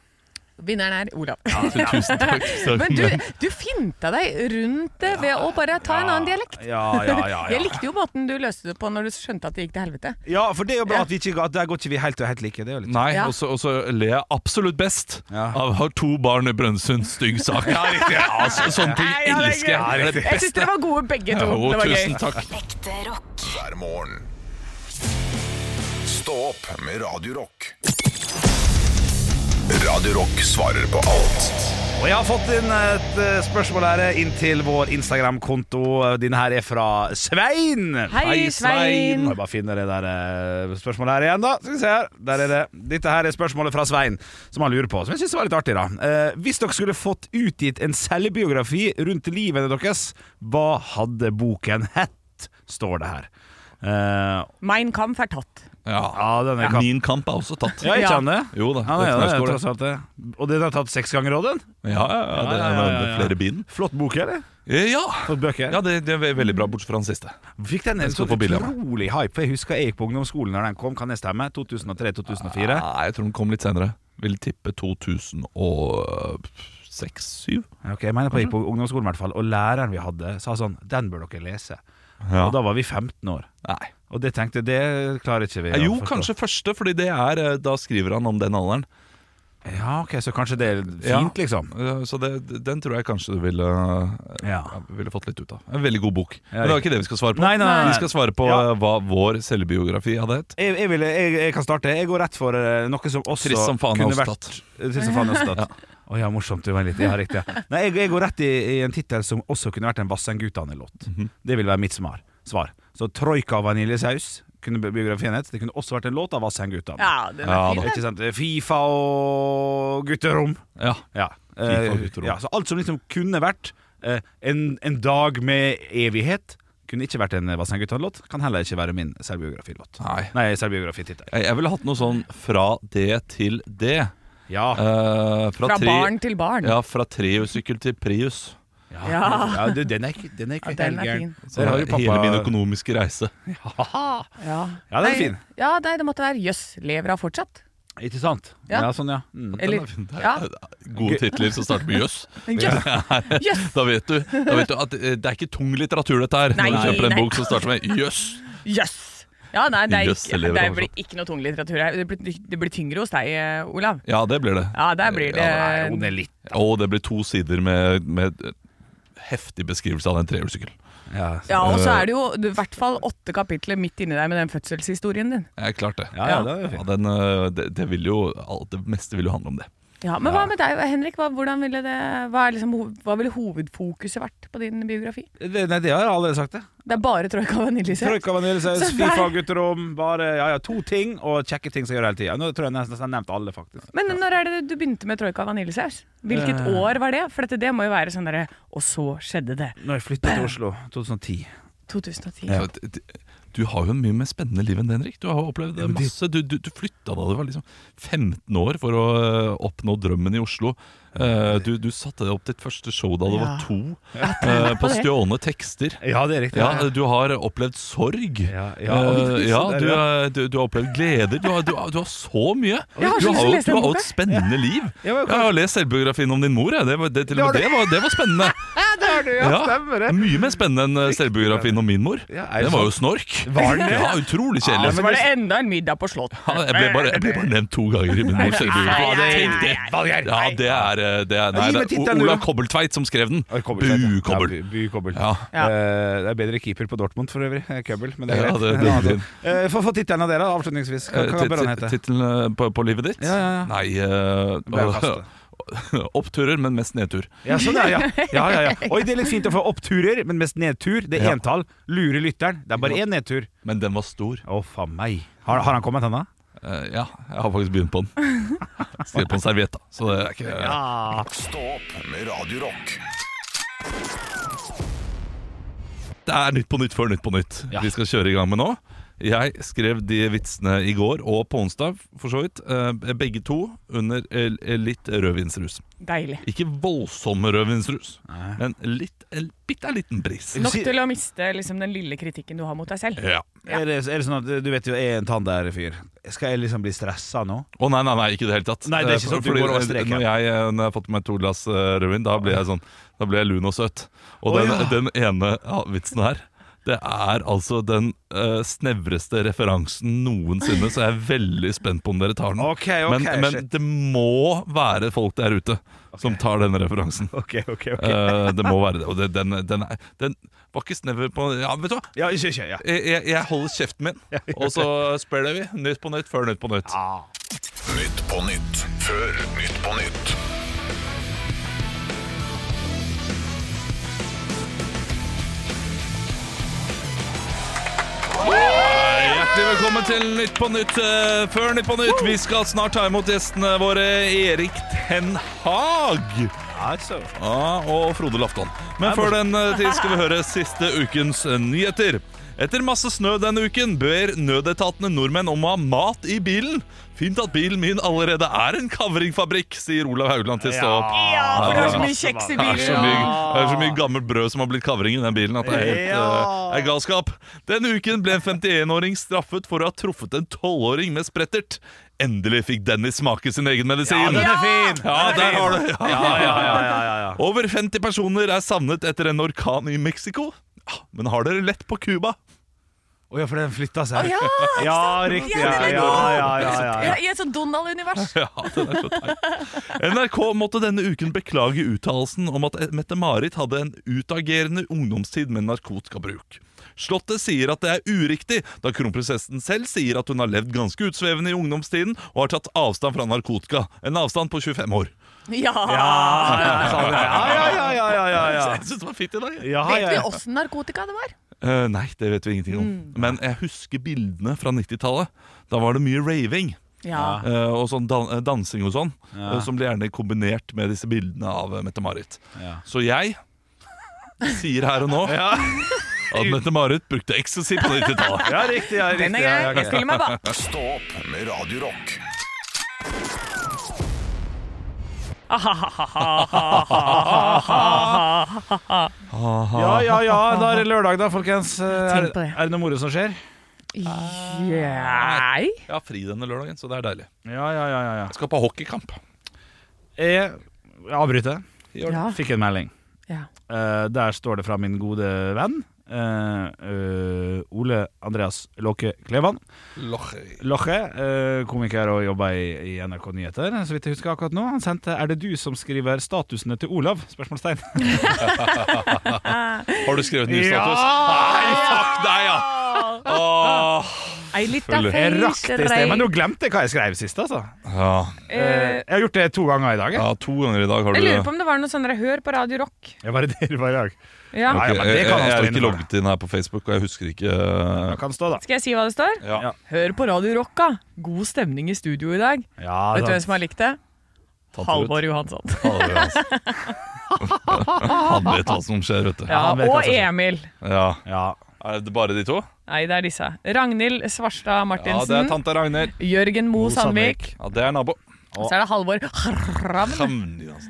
Speaker 2: Vinneren er Olav.
Speaker 4: Ah.
Speaker 3: Ja, tusen takk, tusen takk.
Speaker 2: Men du, du finta deg rundt det ved å bare ta en annen dialekt.
Speaker 3: Ja, ja, ja, ja.
Speaker 2: Jeg likte jo måten du løste det på når du skjønte at det gikk til helvete.
Speaker 3: Ja, for det er jo bra at vi ikke at der går ikke vi helt og helt like. Det er jo litt
Speaker 4: Nei,
Speaker 2: Ja.
Speaker 4: og så- og så ler jeg absolutt best av har to barn i Brønnøysund, stygg sak.
Speaker 3: Ja, riktig.
Speaker 4: Ja, altså. så- sånne ting
Speaker 2: Nei, ja, det er
Speaker 4: elsker jeg.
Speaker 2: gøy.
Speaker 4: Det er det
Speaker 2: Jeg syns
Speaker 4: beste.
Speaker 2: dere var gode begge to.
Speaker 4: Jo,
Speaker 2: det var
Speaker 4: tusen
Speaker 2: gøy.
Speaker 4: takk.
Speaker 1: hver morgen. Stå opp med Radio Rock. Radio Rock svarer på alt.
Speaker 3: Og jeg har fått inn et eh, spørsmål her eh, inn til vår Instagram-konto. Denne her er fra Svein.
Speaker 2: Hei, Svein.
Speaker 3: Må Jeg bare finne det der eh, spørsmålet her igjen, da. Skal vi se her. Der er det. Dette her er spørsmålet fra Svein, som han lurer på. Som jeg syns var litt artig, da. Eh, hvis dere skulle fått utgitt en selvbiografi rundt livet deres, hva hadde boken hett? Står det her. Eh,
Speaker 2: Mein Kampf er tatt.
Speaker 4: Ja,
Speaker 3: den er
Speaker 4: Min kamp er også tatt.
Speaker 3: ja, ikke han det?
Speaker 4: Jo da.
Speaker 3: Han er, det,
Speaker 4: det er
Speaker 3: er
Speaker 4: Knausgård.
Speaker 3: tross alt det. Og den har tatt seks ganger òg, den?
Speaker 4: Ja, ja, ja, det er flere bind.
Speaker 3: Flott bok, eller?
Speaker 4: Eh, Ja,
Speaker 3: Flott bøker.
Speaker 4: ja det, det er veldig bra, bortsett fra den siste.
Speaker 3: Fikk den en
Speaker 4: Den
Speaker 3: sånn
Speaker 4: står på bildet av meg.
Speaker 3: utrolig hype. For Jeg husker jeg gikk på ungdomsskolen når den kom. Kan jeg stemme? 2003-2004.
Speaker 4: Nei, jeg tror den kom litt senere. Vil tippe 2006-2007.
Speaker 3: Ok, Jeg mener på jeg gikk på ungdomsskolen i hvert fall. Og læreren vi hadde, sa sånn Den bør dere lese.
Speaker 4: Ja.
Speaker 3: Og da var vi 15 år.
Speaker 4: Nei.
Speaker 3: Og det tenkte jeg, det klarer ikke vi. å
Speaker 4: Jo,
Speaker 3: forstå.
Speaker 4: kanskje første, fordi det er eh, Da skriver han om den alderen.
Speaker 3: Ja, ok, Så kanskje det er fint,
Speaker 4: Ja.
Speaker 3: liksom.
Speaker 4: Eh, Så det, den tror jeg kanskje du ville, eh,
Speaker 3: Ja.
Speaker 4: ville fått litt ut av. En veldig god bok.
Speaker 3: Ja,
Speaker 4: Men det
Speaker 3: riktig.
Speaker 4: er ikke det vi skal svare på.
Speaker 3: Nei, nei, nei, nei.
Speaker 4: Vi skal svare på
Speaker 3: Ja.
Speaker 4: eh, hva vår selvbiografi hadde hett.
Speaker 3: Jeg, jeg, vil, jeg, jeg kan starte. Jeg går rett for eh, noe som også
Speaker 4: Trist som faen
Speaker 3: kunne
Speaker 4: er
Speaker 3: vært Eh,
Speaker 4: opptatt.
Speaker 3: Trist som faen er opptatt. Å ja, morsomt. Du var litt Ja, riktig. ja. Nei, jeg, jeg går rett i, i en tittel som også kunne vært en Vassendgutane-låt.
Speaker 4: Mhm.
Speaker 3: Det vil være mitt smar, svar. Så Troika og vaniljesaus kunne bi- biografien het. Det kunne også vært en låt av Vassendgutane.
Speaker 2: Ja, den er Ja, fin, da. den.
Speaker 3: Ikke sant? Fifa og gutterom.
Speaker 4: Ja.
Speaker 3: Ja.
Speaker 4: Fifa og
Speaker 3: Eh,
Speaker 4: gutterom.
Speaker 3: ja, så alt som liksom kunne vært eh, en, en dag med evighet, kunne ikke vært en Vassendgutane-låt. Kan heller ikke være min selvbiografilåt.
Speaker 4: Nei.
Speaker 3: Nei, selvbiografitittel.
Speaker 4: Jeg, jeg ville hatt noe sånn fra det til det.
Speaker 3: Ja.
Speaker 4: Eh, fra
Speaker 2: Fra
Speaker 4: tre-
Speaker 2: barn til barn.
Speaker 4: Ja, fra trehjulssykkel til Prius.
Speaker 2: Ja.
Speaker 3: Ja, du, den er ikke, den er ikke
Speaker 2: Ja, den er
Speaker 3: helt
Speaker 2: fin.
Speaker 3: gæren.
Speaker 4: Så
Speaker 3: Der har jo pappa-
Speaker 4: Eh, Hele min økonomiske reise.
Speaker 2: Ja,
Speaker 3: Ja, den er fin.
Speaker 2: Nei, Ja, nei, det måtte være Jøss, lever hun fortsatt?
Speaker 3: Ikke sant?
Speaker 2: Ja.
Speaker 3: Ja, sånn, ja. Mm.
Speaker 2: Eller- ja.
Speaker 4: Gode titler som starter med jøss.
Speaker 2: Jøss. Jøss.
Speaker 4: Da vet du Da vet du at eh, det er ikke tung litteratur, dette her.
Speaker 2: Nei,
Speaker 4: Når du kjøper en
Speaker 2: nei.
Speaker 4: bok som starter med jøss.
Speaker 2: Jøss! Ja, nei, det, er
Speaker 4: Jøss,
Speaker 2: ikke,
Speaker 4: lever
Speaker 2: det
Speaker 4: hun
Speaker 2: blir ikke noe tung litteratur her. Det blir, det blir tyngre hos deg, eh, Olav.
Speaker 4: Ja, det blir det.
Speaker 2: Ja, der blir det
Speaker 3: er litt
Speaker 4: Og det blir to sider med, med heftig beskrivelse av en trehjulssykkel.
Speaker 3: Ja,
Speaker 2: Ja, og så er det jo i hvert fall åtte kapitler midt inni deg med den fødselshistorien din.
Speaker 4: Ja, klart det.
Speaker 3: Ja, ja, det er jo
Speaker 4: den, eh, det, det vil jo alt- Det meste vil jo handle om det.
Speaker 2: Ja, Men hva med deg, Henrik? Hva, hvordan ville det, hva, er liksom, hov- hva ville hovedfokuset vært på din biografi?
Speaker 3: Det, nei, det har jeg allerede sagt, det.
Speaker 2: Det er bare Troika og vaniljesaus.
Speaker 3: Troika, vaniljesaus,
Speaker 2: Så der-
Speaker 3: Fifa, gutterom. Bare ja, ja, to ting, og kjekke ting som jeg gjør hele tida. Nå tror jeg nesten nesten jeg har nevnt alle, faktisk.
Speaker 2: Men når er det du begynte med troika og vaniljesaus? Hvilket
Speaker 3: Eh.
Speaker 2: år var det? For dette, det må jo være sånn derre Og så skjedde det.
Speaker 3: Når jeg flytta til Oslo 2010.
Speaker 2: 2010.
Speaker 4: Så, d- d- Du har jo en mye mer spennende liv enn det, Henrik. Du har jo opplevd eh,
Speaker 3: men det-
Speaker 4: masse. Du, du, du flytta da du var liksom 15 år for å eh, oppnå drømmen i Oslo. Eh, Du, du satte deg opp ditt første show da du
Speaker 3: Ja.
Speaker 4: var to,
Speaker 3: Jeg
Speaker 4: eh,
Speaker 3: tenkte på
Speaker 4: på
Speaker 3: det.
Speaker 4: stjålne tekster.
Speaker 3: Ja, det er riktig.
Speaker 4: Ja, eh, du har opplevd sorg.
Speaker 3: ja.
Speaker 4: Eh, ja,
Speaker 3: Så der,
Speaker 4: du,
Speaker 3: ja.
Speaker 4: er- du, du har opplevd gleder. Du har, du, har- du har så mye.
Speaker 3: Jeg har så lyst
Speaker 4: du
Speaker 3: til å
Speaker 4: har jo
Speaker 3: lese
Speaker 4: du
Speaker 3: den
Speaker 4: har jo
Speaker 3: boka.
Speaker 4: et spennende liv.
Speaker 3: Ja, men
Speaker 4: jeg har lest selvbiografien om din mor. jeg. Det, var, det, til
Speaker 3: Det
Speaker 4: og
Speaker 3: har
Speaker 4: med
Speaker 3: du.
Speaker 4: det, var, det var spennende.
Speaker 3: Ja, det har du, ja, stemmer det.
Speaker 4: Mye mer spennende enn eh, selvbiografien om min mor.
Speaker 3: Ja, er det
Speaker 4: Den var jo
Speaker 3: sant?
Speaker 4: snork.
Speaker 3: Var den det?
Speaker 4: Ja, utrolig kjedelig.
Speaker 2: Og så var det enda en middag på Slottet.
Speaker 4: Ja, jeg, ble bare, jeg ble bare nevnt to ganger i min mors selvbiografi.
Speaker 2: Nei, nei, nei,
Speaker 4: Tenk det. Ja, det er, eh, det er, nei,
Speaker 3: Gi
Speaker 4: det
Speaker 3: meg
Speaker 4: er
Speaker 3: tittelen,
Speaker 4: O- Olav
Speaker 3: du.
Speaker 4: Kobbeltveit som skrev den. Bu
Speaker 3: Kobbeltveit, ja.
Speaker 4: Kobbel.
Speaker 3: Ja, by, by Kobbel.
Speaker 4: Ja.
Speaker 3: Eh, det er bedre keeper på Dortmund for øvrig. eh, Købbel, men det er Eh,
Speaker 4: Ja,
Speaker 3: greit.
Speaker 4: det er
Speaker 3: En annen
Speaker 4: din.
Speaker 3: ting. Eh, Få få tittelen av dere, da, avslutningsvis. Hva,
Speaker 4: Eh,
Speaker 3: hva bør han hete?
Speaker 4: Tittelen eh, på, på livet ditt?
Speaker 3: Ja, ja, ja.
Speaker 4: Nei eh,
Speaker 3: ble jeg kastet.
Speaker 4: Oppturer, men mest nedtur.
Speaker 3: Ja, sånn, ja, ja. Ja, ja, ja. Oi, det er litt fint å få oppturer, men mest nedtur. Det er entall. Lure lytteren. Det er bare én nedtur.
Speaker 4: Men den var stor.
Speaker 3: Å, faen meg. Har, har han kommet ennå?
Speaker 4: Eh, ja, jeg har faktisk begynt på den. Skrevet på en serviett, da. Så det er ikke
Speaker 12: Stå opp med Radio Rock.
Speaker 4: Det er Nytt på nytt før Nytt på nytt. Vi skal kjøre i gang med nå. Jeg skrev de vitsene i går og på onsdag, for så vidt. eh, Begge to under eh, litt rødvinsrus.
Speaker 2: Deilig.
Speaker 4: Ikke voldsom rødvinsrus, men litt, en bitte liten bris.
Speaker 2: Nok til å miste liksom, den lille kritikken du har mot deg selv.
Speaker 3: Er, det, er det sånn at du vet jo, jeg er en tannlærer-fyr. Skal jeg liksom bli stressa nå?
Speaker 4: Å nei, nei, nei, ikke i det hele tatt.
Speaker 3: Nei, det er ikke
Speaker 4: Eh,
Speaker 3: sånn at du
Speaker 4: fordi,
Speaker 3: går over
Speaker 4: eh,
Speaker 3: streken.
Speaker 4: Når jeg, eh, når jeg har fått meg to glass eh, rødvin, da blir jeg sånn Da blir jeg lun og søt. Og
Speaker 3: Å,
Speaker 4: den,
Speaker 3: ja.
Speaker 4: den ene ja, vitsen her det er altså den eh, snevreste referansen noensinne, så jeg er veldig spent på om dere tar den.
Speaker 3: ok,
Speaker 4: men men
Speaker 3: shit.
Speaker 4: det må være folk der ute som tar den referansen.
Speaker 3: Ok, ok, ok.
Speaker 4: Eh, det må være det. Og det, den, den, er, den var ikke snever på Ja, vet du hva?
Speaker 3: Ja, ikke, ikke, ja.
Speaker 4: Jeg, jeg, jeg holder kjeften min, og så spiller vi Nytt på nytt før Nytt på nytt.
Speaker 12: Nytt på nytt før Nytt på nytt.
Speaker 4: Hjertelig velkommen til Nytt på Nytt eh, før Nytt på Nytt. Vi skal snart ta imot gjestene våre Erik Ten Hag
Speaker 3: Altså.
Speaker 4: Ja, Ah, og Frode Lafton. Men før den eh, tid skal vi høre siste ukens eh, nyheter. Etter masse snø denne uken ber nødetatene nordmenn om å ha mat i bilen. Fint at bilen min allerede er en kavringfabrikk, sier Olav Haugland til Stå opp.
Speaker 2: Ja, for det er så mye kjeks i
Speaker 4: Det er så
Speaker 2: bilen.
Speaker 4: mye, det er så mye gammelt brød som har blitt kavring i den bilen at det er helt
Speaker 2: Ja.
Speaker 4: eh, er galskap. Denne uken ble en 51-åring straffet for å ha truffet en 12-åring med sprettert. Endelig fikk Dennis smake sin egen medisin.
Speaker 3: Ja, den er fin!
Speaker 4: Ja,
Speaker 3: Den er
Speaker 4: der
Speaker 3: fin!
Speaker 4: har du
Speaker 3: Ja, ja, ja, ja, ja, ja.
Speaker 4: Over 50 personer er savnet etter en orkan i Mexico. Ah, Men har dere lett på Cuba?
Speaker 3: Å ja, for den flytta seg.
Speaker 2: Å ja, ikke
Speaker 3: ja,
Speaker 2: sant?
Speaker 3: riktig.
Speaker 2: Ja,
Speaker 3: Ja,
Speaker 2: det er
Speaker 3: ja, ja, ja, ja,
Speaker 2: I et sånt Donald-univers.
Speaker 4: Ja, den er så teit. NRK måtte denne uken beklage uttalelsen om at Mette-Marit hadde en utagerende ungdomstid med narkotikabruk. Slottet sier at det er uriktig, da kronprinsessen selv sier at hun har levd ganske utsvevende i ungdomstiden og har tatt avstand fra narkotika. En avstand på 25 år.
Speaker 3: ja,
Speaker 2: Ja!
Speaker 3: ja, ja, ja, ja, ja, ja.
Speaker 4: Jeg synes det var fint i dag. jeg.
Speaker 2: Vet vi åssen narkotika det var?
Speaker 4: Eh, nei, det vet vi ingenting om. Men jeg husker bildene fra 90-tallet. Da var det mye raving.
Speaker 2: Ja.
Speaker 4: Eh, og sånn dan eh, dansing og sånn.
Speaker 3: Ja.
Speaker 4: eh, som ble gjerne kombinert med disse bildene av eh, Mette-Marit.
Speaker 3: Ja.
Speaker 4: Så jeg sier her og nå at Mette-Marit brukte ecstasy på 90-tallet.
Speaker 3: Ja, riktig, ja, Den er riktig, ja, grei. ja, Jeg greit. stiller meg bak.
Speaker 12: Stå opp med Radio Rock.
Speaker 3: Ja, ja, ja. Da er det lørdag, da, folkens. Er,
Speaker 2: Tenk på det.
Speaker 3: er det noe moro som skjer?
Speaker 2: Nei.
Speaker 4: Jeg har fri denne lørdagen, så det er deilig.
Speaker 3: Ja, ja, ja, ja, ja.
Speaker 4: Jeg skal på hockeykamp.
Speaker 3: Jeg avbryter.
Speaker 4: Gjør
Speaker 2: det. Ja.
Speaker 3: Fikk en melding.
Speaker 2: Ja.
Speaker 3: Eh, der står det fra min gode venn eh, eh, Ole Andreas Låke Klevan.
Speaker 4: Loche.
Speaker 3: Loche, eh, komiker og jobber i, i NRK Nyheter, så vidt jeg husker akkurat nå. Han sendte 'Er det du som skriver statusene til Olav?' spørsmålstegn.
Speaker 4: Har du skrevet ny
Speaker 3: Ja!
Speaker 4: status? Nei, fuck deg, ja! Åh.
Speaker 2: Ei lita
Speaker 3: Føler- Jeg rakk det i sted, men nå glemte jeg hva jeg skrev sist, altså.
Speaker 4: Ja.
Speaker 3: Eh, jeg har gjort det to ganger i dag. jeg.
Speaker 4: ja, to ganger i dag har
Speaker 2: Jeg
Speaker 4: du
Speaker 2: lurer på om det var noe sånn dere hør på Radio Rock.
Speaker 3: Jeg var i det det var i dag.
Speaker 2: Ja.
Speaker 4: Ok,
Speaker 3: Ja, ja, men det
Speaker 4: jeg,
Speaker 3: kan han
Speaker 4: jeg
Speaker 3: stå
Speaker 4: er
Speaker 3: inne for,
Speaker 4: ikke logget inn her på Facebook, og jeg husker ikke eh,
Speaker 3: Kan stå, da.
Speaker 2: Skal jeg si hva det står?
Speaker 4: Ja.
Speaker 2: Hør på Radio Rock, da. God stemning i studio i dag.
Speaker 3: Ja,
Speaker 2: Vet du
Speaker 3: sant.
Speaker 2: hvem som har likt det?
Speaker 4: Tante
Speaker 2: Halvor
Speaker 4: Ruth.
Speaker 2: Johansson.
Speaker 4: Halvor Johansson. Han vet hva som skjer, vet du.
Speaker 2: Ja, og Emil.
Speaker 4: Ja.
Speaker 3: Ja.
Speaker 4: Er det bare de to?
Speaker 2: Nei, det er disse. Ragnhild Svarstad
Speaker 4: Ja,
Speaker 2: Martinsen.
Speaker 4: det er tante Ragnhild.
Speaker 2: Jørgen Moe Sandvik.
Speaker 4: Ja, det er nabo.
Speaker 2: Og så er det Halvor Hravn.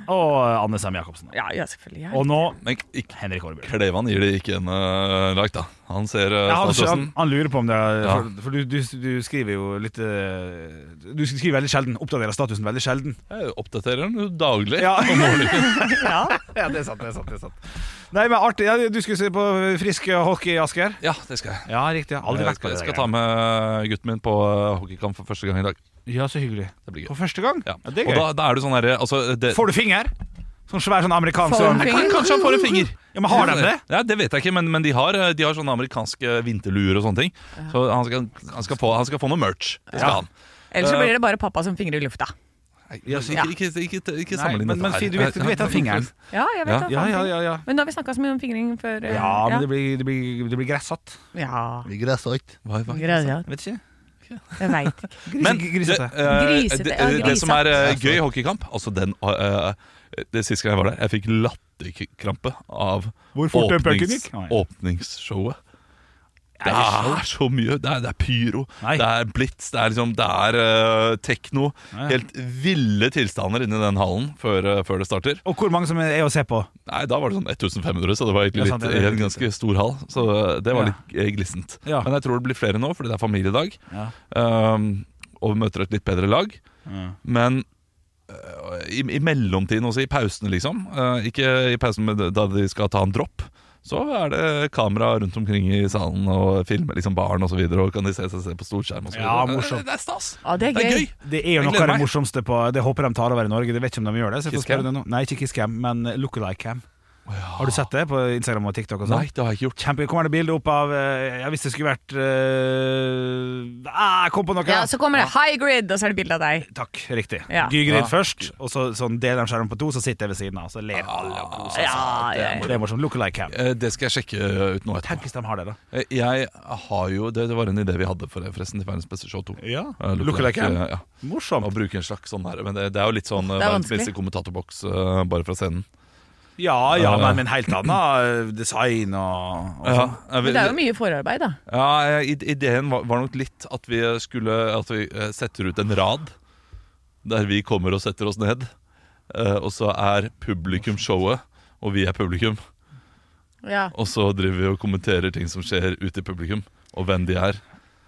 Speaker 3: Og eh, Anne Sem Jacobsen.
Speaker 2: Ja, ja, selvfølgelig. Ja.
Speaker 3: Og nå
Speaker 4: Men ikke,
Speaker 3: Henrik Aarbjørn.
Speaker 4: Klevan gir det ikke en uh, like, da. Han ser uh,
Speaker 3: Ja, han, han,
Speaker 4: statusen.
Speaker 3: han lurer på om det er
Speaker 4: Ja.
Speaker 3: For, for du, du, du skriver jo litt eh, Du skriver veldig sjelden. Oppdaterer statusen veldig sjelden.
Speaker 4: Jeg oppdaterer den jo daglig.
Speaker 3: Ja.
Speaker 4: om morgenen.
Speaker 3: ja, ja, det er sant. det er sant, det er sant Nei, men artig, ja, Du skulle se på frisk hockey, Asker?
Speaker 4: Ja, det skal jeg.
Speaker 3: Ja, riktig. Jeg har Aldri
Speaker 4: Jeg
Speaker 3: vært på
Speaker 4: skal,
Speaker 3: det.
Speaker 4: jeg skal ta med gutten min på uh, hockeykamp for første gang i dag.
Speaker 3: Ja, så hyggelig.
Speaker 4: Det blir gøy.
Speaker 3: For første gang? Ja, det er
Speaker 4: Og
Speaker 3: gøy.
Speaker 4: da, da er du sånn herre altså, det-
Speaker 3: Får du finger? Sånn svær sånn amerikansk
Speaker 4: Får
Speaker 3: sånn.
Speaker 4: han finger? Kanskje han får en finger.
Speaker 3: Ja, men Har de det?
Speaker 4: Ja, det vet jeg ikke, men, men de, har, eh, de har sånne amerikanske vinterluer og sånne ting. Så han skal, han skal, få, han skal få noe merch. Det skal han.
Speaker 2: Ellers så
Speaker 4: Eh,
Speaker 2: blir det bare pappa som fingrer i lufta.
Speaker 4: Ja, så ikke, ikke, ikke,
Speaker 3: Nei,
Speaker 4: ikke, sammenlign
Speaker 3: men-
Speaker 4: dette
Speaker 3: men
Speaker 4: her.
Speaker 3: Fi, du vet- du vet den fingeren.
Speaker 2: Ja, jeg vet
Speaker 4: Ja.
Speaker 2: det.
Speaker 3: Ja,
Speaker 2: faen
Speaker 3: ja,
Speaker 2: ting.
Speaker 3: ja, ja.
Speaker 2: Men da har vi snakka så mye om fingring før. eh,
Speaker 3: Ja, men det blir, det blir, det blir gressete.
Speaker 2: Ja.
Speaker 11: Det blir gressete.
Speaker 2: Gressete.
Speaker 3: Vet ikke.
Speaker 2: Jeg veit ikke.
Speaker 4: Men det,
Speaker 3: Grisete.
Speaker 4: eh,
Speaker 2: Grisete,
Speaker 4: det,
Speaker 2: ja,
Speaker 4: det, det som er eh,
Speaker 2: grisete.
Speaker 4: gøy i hockeykamp Altså den eh, det Siste gang jeg var der, jeg fikk latterkrampe av
Speaker 3: Hvor fort den pucken gikk?
Speaker 4: åpningsshowet. Det er så mye. Det er, det er pyro, det er blitz, det er, liksom, det er eh, tekno.
Speaker 3: Ja, ja.
Speaker 4: Helt ville tilstander inni den hallen før, eh, før det starter.
Speaker 3: Og hvor mange som er å se på?
Speaker 4: Nei, Da var det sånn 1500, så det var
Speaker 3: Ja,
Speaker 4: egentlig
Speaker 3: sant,
Speaker 4: litt,
Speaker 3: det er
Speaker 4: i en ganske stor hall. Så det
Speaker 3: Ja.
Speaker 4: var litt eh, glissent.
Speaker 3: Ja.
Speaker 4: Men jeg tror det blir flere nå, fordi det er familiedag.
Speaker 3: Ja.
Speaker 4: Um, og vi møter et litt bedre lag.
Speaker 3: Ja.
Speaker 4: Men øh, i, i mellomtiden også, i pausene, liksom. øh, ikke i pausen men da de skal ta en dropp. Så er det kamera rundt omkring i salen og filmer liksom barn osv. Og, så videre, og kan de se seg selv på storskjerm osv.
Speaker 3: Ja, morsomt.
Speaker 4: Eh, Det er stas!
Speaker 2: Ja, det er
Speaker 4: Det er
Speaker 2: gøy.
Speaker 4: gøy.
Speaker 3: Det er jo
Speaker 4: Jeg
Speaker 3: noe
Speaker 4: gleder
Speaker 3: av det
Speaker 4: meg.
Speaker 3: morsomste på Det håper de tar over i Norge. Det vet ikke om de gjør det. Så jeg får
Speaker 4: Kiss cam?
Speaker 3: spørre det nå. Nei, ikke Kisscam, men Lookalike-cam. Har du sett det på Instagram og TikTok? og sånn?
Speaker 4: Nei, det har jeg ikke gjort.
Speaker 3: Kjempe, Kommer det bilde opp av eh, ja, Hvis det skulle vært eh, ah, Jeg kom på noe!
Speaker 2: Ja, så kommer det high grid, og så er det bilde av deg.
Speaker 3: Takk, riktig.
Speaker 2: Ja.
Speaker 3: Gygrid
Speaker 2: Ja.
Speaker 3: først, og så sånn deler de skjermen på to, så sitter jeg ved siden av. Så ler alle og koser seg.
Speaker 2: Ja,
Speaker 4: Ah.
Speaker 3: Det er mor- Det er morsomt. Lookalike-cam.
Speaker 4: Eh, Det skal jeg sjekke ut nå etterpå.
Speaker 3: Tenk hvis de har det, da.
Speaker 4: Eh, Jeg har jo, det, det var en idé vi hadde for forresten til Verdens beste show 2.
Speaker 3: Ja.
Speaker 4: Eh,
Speaker 3: Lookalike,
Speaker 4: eh,
Speaker 3: ja.
Speaker 4: ja.
Speaker 3: Morsomt.
Speaker 4: Å bruke en slags sånn der, men det, det er jo litt sånn eh,
Speaker 3: Det er
Speaker 4: Verdens
Speaker 3: vanskelig.
Speaker 4: beste kommentatorboks eh, bare fra scenen.
Speaker 3: Ja, ja,
Speaker 4: Ja.
Speaker 3: men med en helt annen eh, design og, og
Speaker 4: Ja,
Speaker 3: sånn.
Speaker 4: jeg vil-
Speaker 2: Men det er jo mye forarbeid, da.
Speaker 4: Ja, eh, id- ideen var, var nok litt at vi skulle At vi eh, setter ut en rad der vi kommer og setter oss ned. eh, Og så er publikum showet, og vi er publikum.
Speaker 2: Ja.
Speaker 4: Og så driver vi og kommenterer ting som skjer ute i publikum, og hvem de er.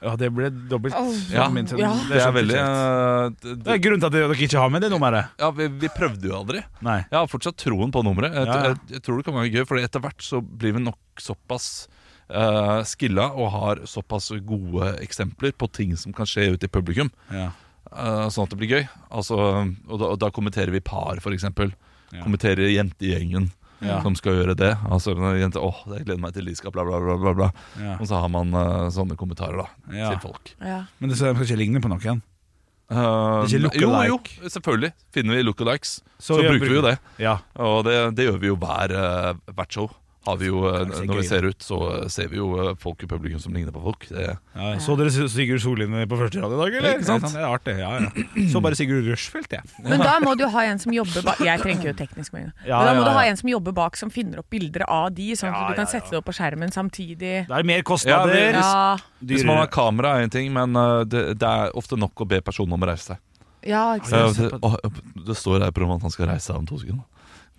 Speaker 3: Ja, det ble dobbelt.
Speaker 2: Åh,
Speaker 4: Ja,
Speaker 3: Min-
Speaker 4: ja. Det er
Speaker 3: sånn
Speaker 4: veldig
Speaker 3: spesielt.
Speaker 4: eh, d- d-
Speaker 3: Det er grunnen til at dere ikke har med det nummeret.
Speaker 4: Ja, vi, vi prøvde jo aldri.
Speaker 3: Nei.
Speaker 4: Jeg har fortsatt troen på nummeret. Jeg,
Speaker 3: Ja, ja.
Speaker 4: jeg, jeg tror det kan være gøy, for etter hvert så blir vi nok såpass eh, skilla og har såpass gode eksempler på ting som kan skje ute i publikum,
Speaker 3: Ja.
Speaker 4: eh, sånn at det blir gøy. Altså, og, da, og da kommenterer vi par, for eksempel.
Speaker 3: Ja.
Speaker 4: Kommenterer jentegjengen.
Speaker 3: Ja.
Speaker 4: Som skal gjøre det. Altså, når jente, åh, jeg gleder meg til de skal bla, bla, bla. bla, bla.
Speaker 3: Ja.
Speaker 4: Og så har man eh, sånne kommentarer da,
Speaker 3: Ja.
Speaker 4: til folk.
Speaker 2: Ja.
Speaker 3: Men det skal de skal ikke ligne på noen.
Speaker 4: Uh,
Speaker 3: Det er ikke lookalike.
Speaker 4: Jo, jo, selvfølgelig. Finner vi lookalikes,
Speaker 3: Så
Speaker 4: så,
Speaker 3: gjør-
Speaker 4: bruker vi jo det.
Speaker 3: Ja.
Speaker 4: Og det, det gjør vi jo hver, eh, hvert show. Har vi jo, eh,
Speaker 3: Det er
Speaker 4: når
Speaker 3: gøy,
Speaker 4: vi ser ut, så eh, ser vi jo eh, folk i publikum som ligner på folk. Det,
Speaker 3: Ja, så dere Sigurd Sollien på første rad i dag, eller?
Speaker 4: Ikke sant?
Speaker 3: Det er artig. Ja, ja. Så bare Sigurd Rushfeldt, jeg.
Speaker 2: Men da må du ha en som jobber bak Jeg trenger jo teknisk mening.
Speaker 3: Ja,
Speaker 2: Men da må
Speaker 3: ja,
Speaker 2: du ha
Speaker 3: ja.
Speaker 2: en som jobber bak, som finner opp bilder av de, sånn at
Speaker 3: Ja,
Speaker 2: du kan
Speaker 3: ja,
Speaker 2: sette det opp på skjermen samtidig.
Speaker 3: Det er mer
Speaker 4: Ja,
Speaker 3: kostnader.
Speaker 4: vi-
Speaker 2: Ja.
Speaker 4: hvis man har kamera, er en ting, men eh, det, det er ofte nok å be personen om å reise seg.
Speaker 2: Ja, ikke
Speaker 4: Eh,
Speaker 2: sant.
Speaker 4: det, å, det står her i programmet at han skal reise seg om to sekunder.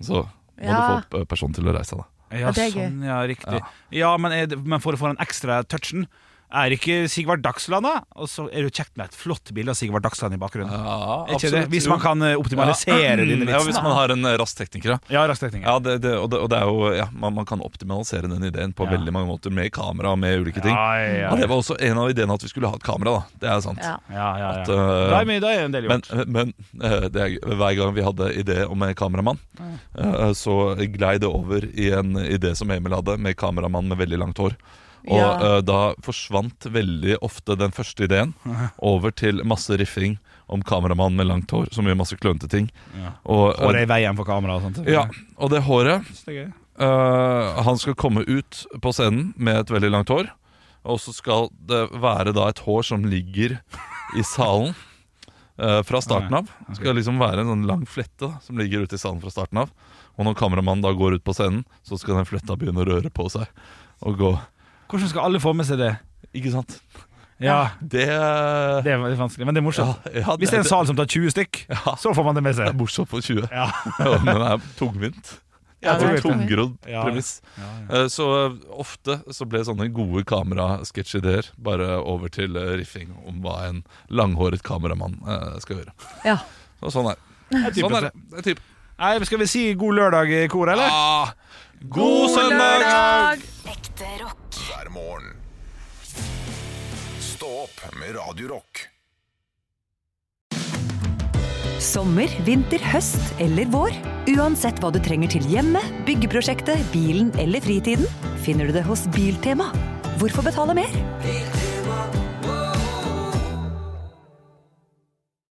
Speaker 4: Så må
Speaker 2: Ja.
Speaker 4: du få eh, personen til å reise seg, da.
Speaker 3: Ja,
Speaker 2: Ja, det er gøy.
Speaker 3: sånn, ja, riktig. Ja, men, er, det- men for å få den ekstra touchen er ikke Sigvard Dagsland, da? Og så er det jo kjekt med et flott bilde av Sigvard Dagsland i bakgrunnen.
Speaker 4: Ja,
Speaker 3: Er ikke
Speaker 4: absolutt,
Speaker 3: det? Hvis
Speaker 4: jo.
Speaker 3: man kan eh, optimalisere
Speaker 4: ja.
Speaker 3: dine vitser.
Speaker 4: Ja, hvis man har en eh, rask tekniker, ja.
Speaker 3: Ja, rask teknikk.
Speaker 4: Ja, det, det, og, det, og det er jo ja, man, man kan optimalisere den ideen på
Speaker 3: Ja.
Speaker 4: veldig mange måter, med kamera og med ulike ting.
Speaker 3: Ja, ja, ja.
Speaker 4: Og det var også en av ideene at vi skulle ha et kamera, da. Det er sant.
Speaker 2: Ja.
Speaker 3: Ja, ja, ja.
Speaker 4: At, eh,
Speaker 3: Da er mye- da er en del
Speaker 4: men,
Speaker 3: gjort.
Speaker 4: men eh, det er, hver gang vi hadde idé om en kameramann, eh, så glei det over i en idé som Emil hadde, med kameramann med veldig langt hår. Og
Speaker 2: Ja.
Speaker 4: eh, da forsvant veldig ofte den første ideen over til masse riffing om kameramann med langt hår som gjør masse klønete ting.
Speaker 3: Ja.
Speaker 4: Og, eh,
Speaker 3: Håret i veien for kamera og sånt.
Speaker 4: ja, og det håret
Speaker 3: det er gøy.
Speaker 4: eh, Han skal komme ut på scenen med et veldig langt hår. Og så skal det være da et hår som ligger i salen eh, fra starten av. Det skal liksom være en sånn lang flette da, som ligger ute i salen fra starten av. Og når kameramannen da går ut på scenen, så skal den fletta begynne å røre på seg og gå.
Speaker 3: Hvordan skal alle få med seg det?
Speaker 4: Ikke sant?
Speaker 3: Ja,
Speaker 4: Det,
Speaker 3: det er vanskelig, men det er morsomt.
Speaker 4: Ja, ja, det-
Speaker 3: Hvis det er en sal som tar 20 stykk, så får man det med seg.
Speaker 4: Det er morsomt for 20.
Speaker 3: Ja.
Speaker 4: Ja, men det er tungvint.
Speaker 3: Ja,
Speaker 4: det er
Speaker 3: det er
Speaker 4: en tungrodd
Speaker 3: Ja.
Speaker 4: premiss. Eh, Så eh, ofte så ble sånne gode kamerasketsjideer bare over til eh, riffing om hva en langhåret kameramann eh, skal gjøre.
Speaker 13: Ja.
Speaker 4: Og sånn er
Speaker 3: Det er
Speaker 4: Sånn er det.
Speaker 3: typisk det. Nei, skal vi si god lørdag i kor, eller?
Speaker 4: God søndag!
Speaker 2: Ekte rock. Hver morgen. Stå opp med Radio Rock.
Speaker 14: Sommer, vinter, høst eller vår. Uansett hva du trenger til hjemmet, byggeprosjektet, bilen eller fritiden, finner du det hos Biltema. Hvorfor betale mer? Biltema.